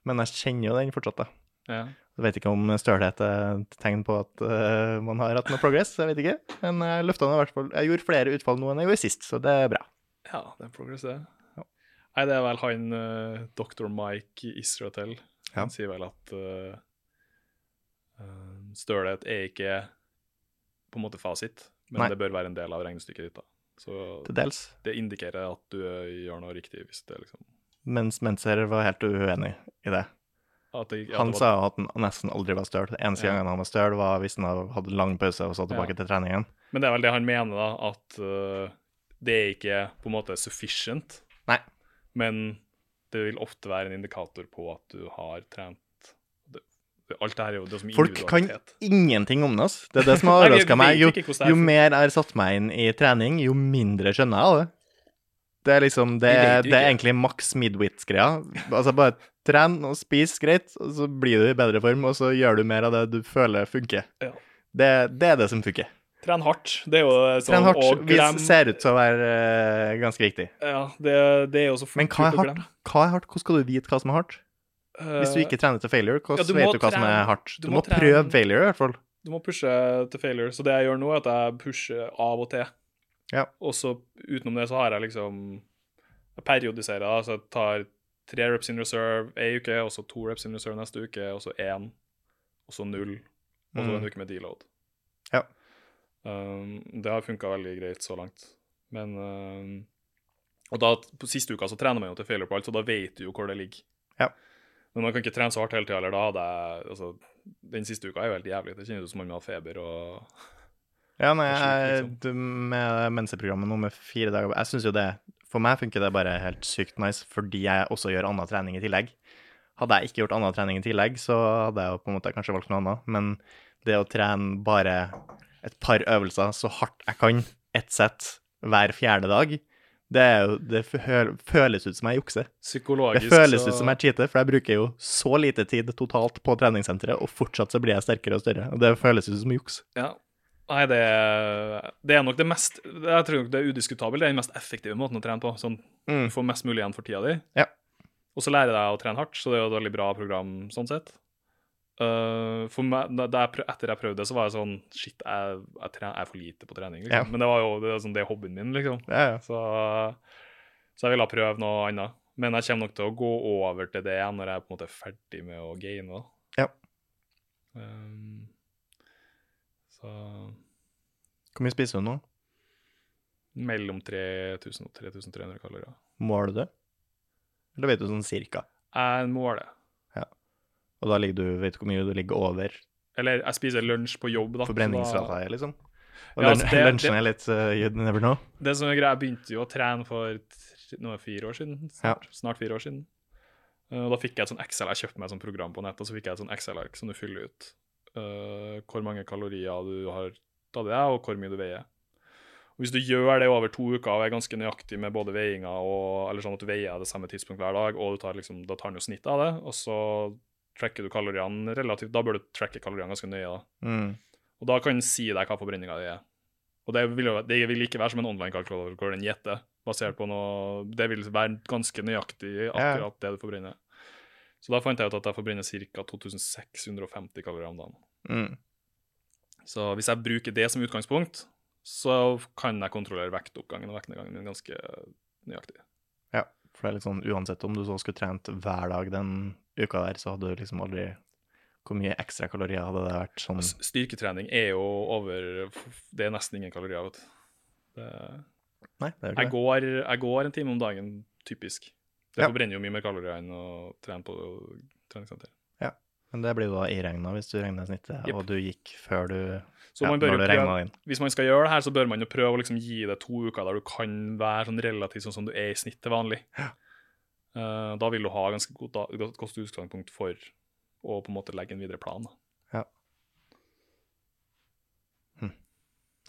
men jeg kjenner jo den fortsatt, da. Ja. Jeg vet ikke om stølhet er et tegn på at eh, man har hatt noe progress, jeg vet ikke. Men jeg løfta nå i hvert fall Jeg gjorde flere utfall nå enn jeg gjorde sist, så det er bra. ja, det er progress, det. Ja. Nei, det er vel han eh, Dr. Mike Israel. Ja. Han sier vel at uh, stølhet er ikke på en måte fasit, men Nei. det bør være en del av regnestykket ditt. da. Så Til dels. det indikerer at du eh, gjør noe riktig. hvis det liksom... Mens Menzer var helt uenig i det. At det, at Han det sa jo at han nesten aldri var støl. Eneste Ja. gangen han var støl, var hvis han hadde lang pause og så tilbake Ja. til treningen. Men det er vel det han mener, da, at eh, det er ikke på en måte sufficient. Nei. Men det vil ofte være en indikator på at du har trent det, det- Alt det her er jo det som Folk kan- Ingenting om det, ass. Det er det som har Nei, vi overraska meg. vet Jo, ikke hvordan det er, jo for- mer jeg har satt meg inn i trening, jo mindre skjønner jeg av det. Det er liksom Det, Vi er- vet jo det er ikke. egentlig maks midwit-greia. Altså bare tren og spis greit, og så blir du i bedre form, og så gjør du mer av det du føler funker. Ja. Det, det er det som funker. Tren hardt. Det er jo sånn Tren hardt å vis- glemme ser ut til å være eh, ganske riktig. ja, det, det er jo så fort Men hva er gjort å hardt? glemme. Hva er hardt? Hvordan skal du vite hva som er hardt? Hvis du Eh, ikke trener til failure, hvordan Ja, du må vet du hva som er trene- hardt? du Du, må må, trene- prøve failure, i hvert fall. Du må pushe til failure. Så det jeg gjør nå, er at jeg pusher av og til. Ja. Og så utenom det så har jeg liksom Jeg periodiserer. da, Så jeg tar tre reps in reserve ei uke, og så to reps in reserve neste uke, og så én, og så null, og så Mm. en uke med deload. Ja. Um, det har funka veldig greit så langt. Men um, Og da, på siste uka så trener man jo til failure på alt, så da vet du jo hvor det ligger. Ja. Men man kan ikke trene så hardt hele tida, eller da hadde jeg altså, den siste uka er jo helt jævlig. Det kjennes ut som om jeg har feber og Ja, nei, jeg, Det du- med menseprogrammet nå med fire dager Jeg syns jo det For meg funker det bare helt sykt nice, fordi jeg også gjør annen trening i tillegg. Hadde jeg ikke gjort annen trening i tillegg, så hadde jeg jo på en måte kanskje valgt noe annet. Men det å trene bare et par øvelser så hardt jeg kan, ett sett hver fjerde dag, det, er jo, det fø- føles ut som jeg jukser. Det Psykologisk føles ut som jeg cheater, for jeg bruker jo så lite tid totalt på treningssenteret, og fortsatt så blir jeg sterkere og større. Og det føles ut som juks. ja. Nei, det er, det er nok det mest Jeg tror nok det er udiskutabelt. Det er den mest effektive måten å trene på. Sånn Mm. du får mest mulig igjen for tida di. Ja. Og så lærer jeg deg å trene hardt, så det er jo et veldig bra program sånn sett. Eh, for meg, da, da jeg prøv, etter jeg prøvde det, så var jeg sånn Shit, jeg, jeg, trener, jeg er for lite på trening. Liksom. Ja. Men det var jo det, er sånn, det er hobbyen min, liksom. Ja, ja. Så, så jeg ville prøve noe annet. Men jeg kommer nok til å gå over til det igjen når jeg på en måte er ferdig med å game. Da. Ja. Ehm, så Hvor mye spiser du nå? mellom 3000 og 3300 kalorier. Måler du det? Eller vet du sånn cirka? Jeg måler. Og da ligger du, vet du hvor mye du ligger over Eller jeg spiser lunsj på jobb, da. så da- forbrenningsrata er, liksom? Og Ja, ja, altså, det- lunsjen er litt uh, You never know. Det som er greia, jeg begynte jo å trene for tre- nå er det fire år siden. Snart, snart fire år siden. Eh, Og da fikk jeg et sånn Excel, jeg kjøpte meg et sånt program på nettet, og så fikk jeg et sånn Excel-ark som du fyller ut eh, hvor mange kalorier du har tatt i deg, og hvor mye du veier. Og hvis du gjør det over to uker og er ganske nøyaktig med både veiinga og eller sånn at du veier det samme tidspunkt hver dag, og du tar liksom, da tar du jo snitt av det, og så tracker du kaloriene relativt Da bør du tracke kaloriene ganske nøye. da. Mm. Og da kan den si deg hva forbrenninga di er. Og det vil, jo, det vil ikke være som en online-kalkulator hvor den gjetter, basert på noe Det vil være ganske nøyaktig akkurat det du forbrenner. Så da fant jeg ut at jeg forbrenner ca. 2650 kalorier om dagen. Mm. Så hvis jeg bruker det som utgangspunkt, så kan jeg kontrollere vektoppgangen og vektnedgangen min ganske nøyaktig. For det er litt sånn uansett om du så skulle trent hver dag den uka der, så hadde du liksom aldri Hvor mye ekstra kalorier hadde det vært sånn? S- Styrketrening er jo over Det er nesten ingen kalorier, vet du. Det, Nei, det er jo ikke Jeg det. går, jeg går en time om dagen, typisk. Det Ja. forbrenner jo mye mer kalorier enn å trene på treningssenter. Men det blir jo da iregna hvis du regner snittet, Jepp. og du gikk før du Så ja, man når bør jo du prøve, regnet inn. hvis man skal gjøre det her, så bør man jo prøve å liksom gi det to uker der du kan være sånn relativt sånn som du er i snitt til vanlig. Eh, da vil du ha ganske godt, da, godt, godt utgangspunkt for å på en måte legge en videre plan. Da.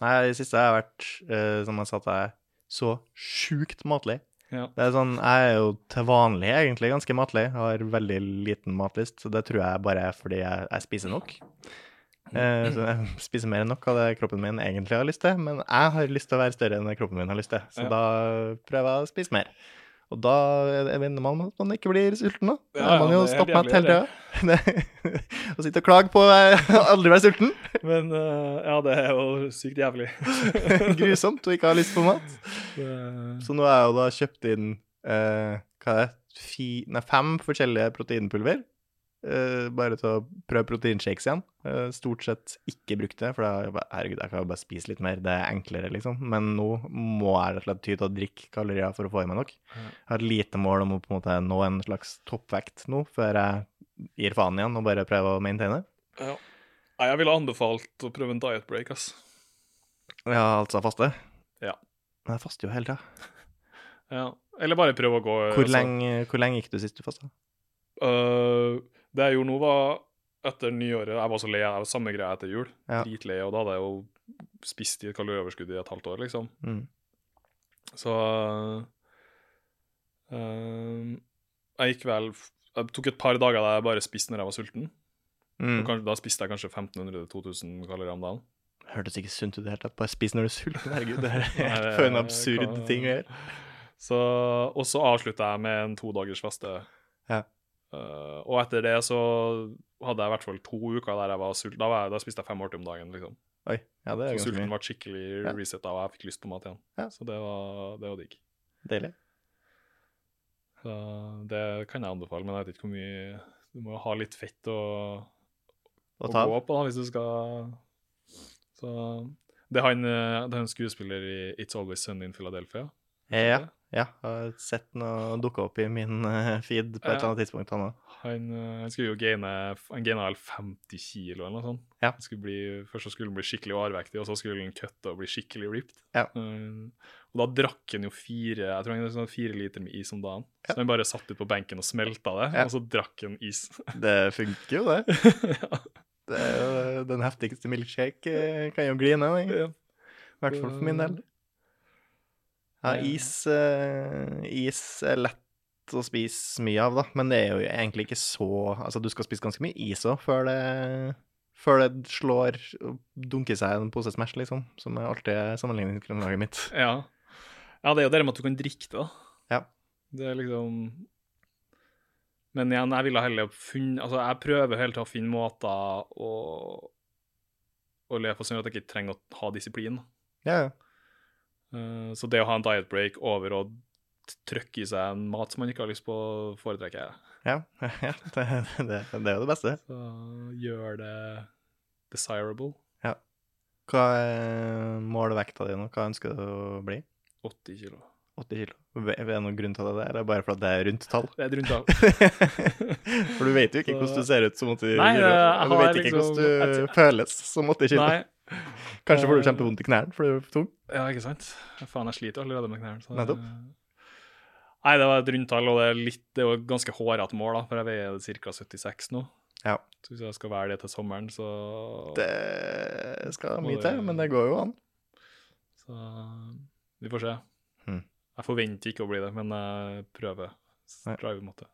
Nei, i det siste har jeg vært, eh, som jeg sa til deg, så sjukt matlig. Ja. Det er sånn, Jeg er jo til vanlig egentlig ganske matlig, har veldig liten matlyst. så Det tror jeg bare er fordi jeg, jeg spiser nok. Mm. Eh, så jeg spiser mer enn nok av det kroppen min egentlig har lyst til, men jeg har lyst til å være større enn det kroppen min har lyst til, så Ja. da prøver jeg å spise mer. Og da vinner man at man ikke blir sulten, da. Da Ja, er ja, man jo det er helt stappmett hele jævlig, tida. Å sitte og klage på eh, aldri være sulten. Men eh, ja, det er jo sykt jævlig. Grusomt å ikke ha lyst på mat. Det- Så nå har jeg jo da kjøpt inn eh, hva er det, fi, nei, fem forskjellige proteinpulver. Eh, bare til å prøve proteinshakes igjen. Eh, stort sett ikke brukt det, for da har jeg bare, herregud, jeg kan jo bare spise litt mer. Det er enklere, liksom. Men nå må jeg rett og slett ty til å drikke kalorier for å få i meg nok. Ja. Jeg har et lite mål om å på en måte nå en slags toppvekt nå, før jeg gir faen igjen og bare prøver å maintaine. ja. Nei, jeg ville anbefalt å prøve en diet break, ass. Ja, altså faste. Ja. Men jeg faster jo hele tida. Ja. Eller bare prøve å gå Hvor, altså- lenge- hvor lenge gikk du sist du fasta? Eh, det jeg gjorde nå, var etter nyåret Jeg var så lei. Jeg var samme greia etter jul. Ja. Dritlei. Og da hadde jeg jo spist i et kalorioverskudd i et halvt år, liksom. Mm. Så eh, Jeg gikk vel Jeg tok et par dager der jeg bare spiste når jeg var sulten. Og Mm. kanskje, da spiste jeg kanskje 1500-2000 kalorier om dagen. Hørtes ikke sunt ut i det hele tatt. Bare spis når du er sulten, herregud. Det er Nei, helt det- for en absurd hva- ting å gjøre. Så, og så avslutta jeg med en to dagers faste. Ja. Eh, og etter det så hadde jeg i hvert fall to uker der jeg var sulten. Da, var jeg, da spiste jeg fem måltider om dagen. liksom. Oi, ja, det er Så ganske sulten mye. ble skikkelig Ja. resetta, og jeg fikk lyst på mat igjen. Ja. Så det var, det var digg. Deilig. Så det kan jeg anbefale, men jeg vet ikke hvor mye Du må jo ha litt fett å, å, Å ta gå av. på da, hvis du skal Så Det er han, eh, det er han skuespiller i It's Always Sunny in Philadelphia. Ja, ja. Har sett noe dukke opp i min eh, feed på et eller annet tidspunkt, han òg. Han, eh, han skulle jo gaine Han gaina vel 50 kilo eller noe sånt. Ja. Han skulle bli, først så skulle han bli skikkelig overvektig, og så skulle han kutte og bli skikkelig ripped. Ja. Eh, og da drakk han jo fire jeg tror han hadde sånn fire liter med is om dagen. Ja. Så han bare satt ut på benken og smelta det, Ja. og så drakk han is. Det funker jo, det. ja. det er jo eh, den heftigste milkshake eh, kan jo gli ned, jeg. Ja. i hvert fall for min del. Ja, Ja. is, eh, is er lett å spise mye av, da, men det er jo egentlig ikke så Altså, du skal spise ganske mye is òg før det før det slår og dunker seg i en pose Smash, liksom, som er alltid er sammenligningsgrunnlaget mitt. Ja. ja, det er jo det med at du kan drikke det, da. Ja. Det er liksom Men igjen, jeg ville heller funnet Altså, jeg prøver hele tida å finne måter å, å leve på sånn at jeg ikke trenger å ha disiplin. Ja, ja. Eh, Så det å ha en diet break over å t- trykke i seg en mat som man ikke har lyst på, foretrekker jeg. ja, ja det, det, det er jo det beste. Så gjør det desirable. Hva er målvekta di nå? Hva ønsker du å bli? 80 kilo. 80 kilo. Er det noen grunn til det, eller bare fordi det er rundt tall? Det er et rundt av. For du vet jo ikke Så- hvordan du ser ut som 80 Nei, kilo. Og jeg du har vet ikke liksom- hvordan du jeg- føles som 80 kilo. Nei, Kanskje får du eh, kjempevondt i knærne fordi du er for tung. Ja, ikke sant? Faen, jeg sliter jo allerede med knærne. så- Nettopp. Nei, det var et rundtall, og det er, litt, det er jo et ganske hårete mål, da, for jeg veier ca. 76 nå. Ja. Så hvis jeg skal være det til sommeren, så, Det skal Må mye det- til, men det går jo an. så Vi får se. Mhm. Jeg forventer ikke å bli det, men jeg prøver. Nei. Prøver, på en måte.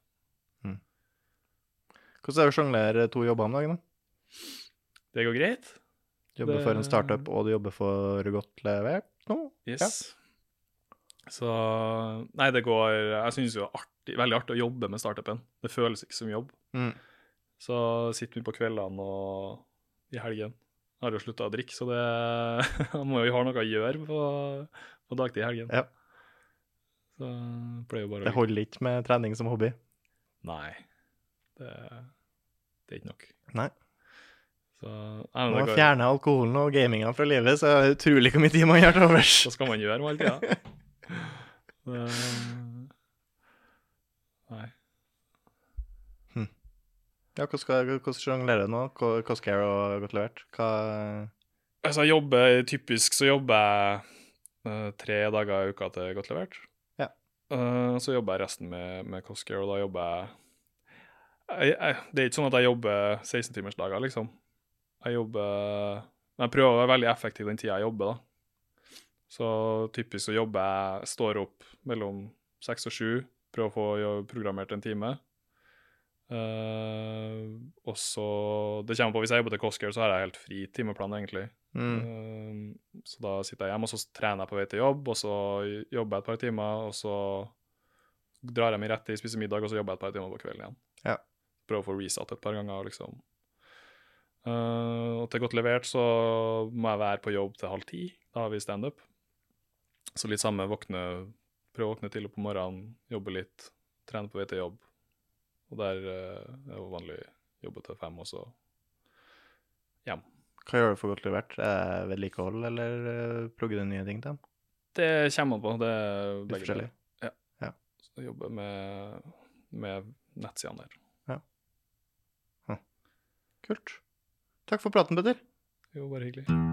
Hvordan er det å sjonglere to jobber om dagen? da? Det går greit? Du jobber Det- for en startup, og du jobber for godt levert nå? Yes. Så Nei, det går Jeg syns jo det er artig, veldig artig å jobbe med startupen. Det føles ikke som jobb. Mm. Så sitter vi på kveldene og i helgen. Jeg har jo slutta å drikke, så det jeg må jo ha noe å gjøre på, på dagtid i helgen. Ja. Så pleier jo bare Det å ligge- holder ikke med trening som hobby. Nei. Det, det er ikke nok. Nei. Så nei, Når men man det går, fjerner alkoholen og gaminga fra livet, så er det utrolig hvor mye tid man har til overs. hva skal man gjøre med all tida? Nei. Ja, hvordan skal- hvordan sjonglerer du nå? Hva- Coscare og godt levert? Hva Altså, jeg jobber typisk så jobber jeg eh, tre dager i uka til godt levert. Ja. Eh, så jobber jeg resten med, med Coscare, og da jobber jeg, jeg, jeg Det er ikke sånn at jeg jobber 16-timersdager, liksom. Jeg jobber Jeg prøver å være veldig effektiv den tida jeg jobber, da. Så typisk så jobber jeg Står opp mellom seks og sju, prøver å få jo- programmert en time. Eh, og så Det kommer på hvis jeg jobber til Coscare, så har jeg helt fri timeplan, egentlig. mm. Eh, Så da sitter jeg hjemme, og så trener jeg på vei til jobb, og så jobber jeg et par timer, og så drar jeg meg rett i, spiser middag, og så jobber jeg et par timer på kvelden igjen. Ja. Prøver å få resatt et par ganger, liksom. Eh, og til godt levert så må jeg være på jobb til halv ti. Da har vi standup. Så litt samme våkne Prøve å våkne tidlig på morgenen, jobbe litt, trene på vei til jobb. Og der eh, er jo vanlig jobbe til fem, og så Hva gjør du for godt levert? Er det vedlikehold, eller eh, plugger du nye ting til dem? Det kommer an på. Det er Litt begge deler. forskjellig. Ja. Ja. Så jeg jobber med, med nettsidene der. Kult. Takk for praten, Petter. Jo, bare hyggelig.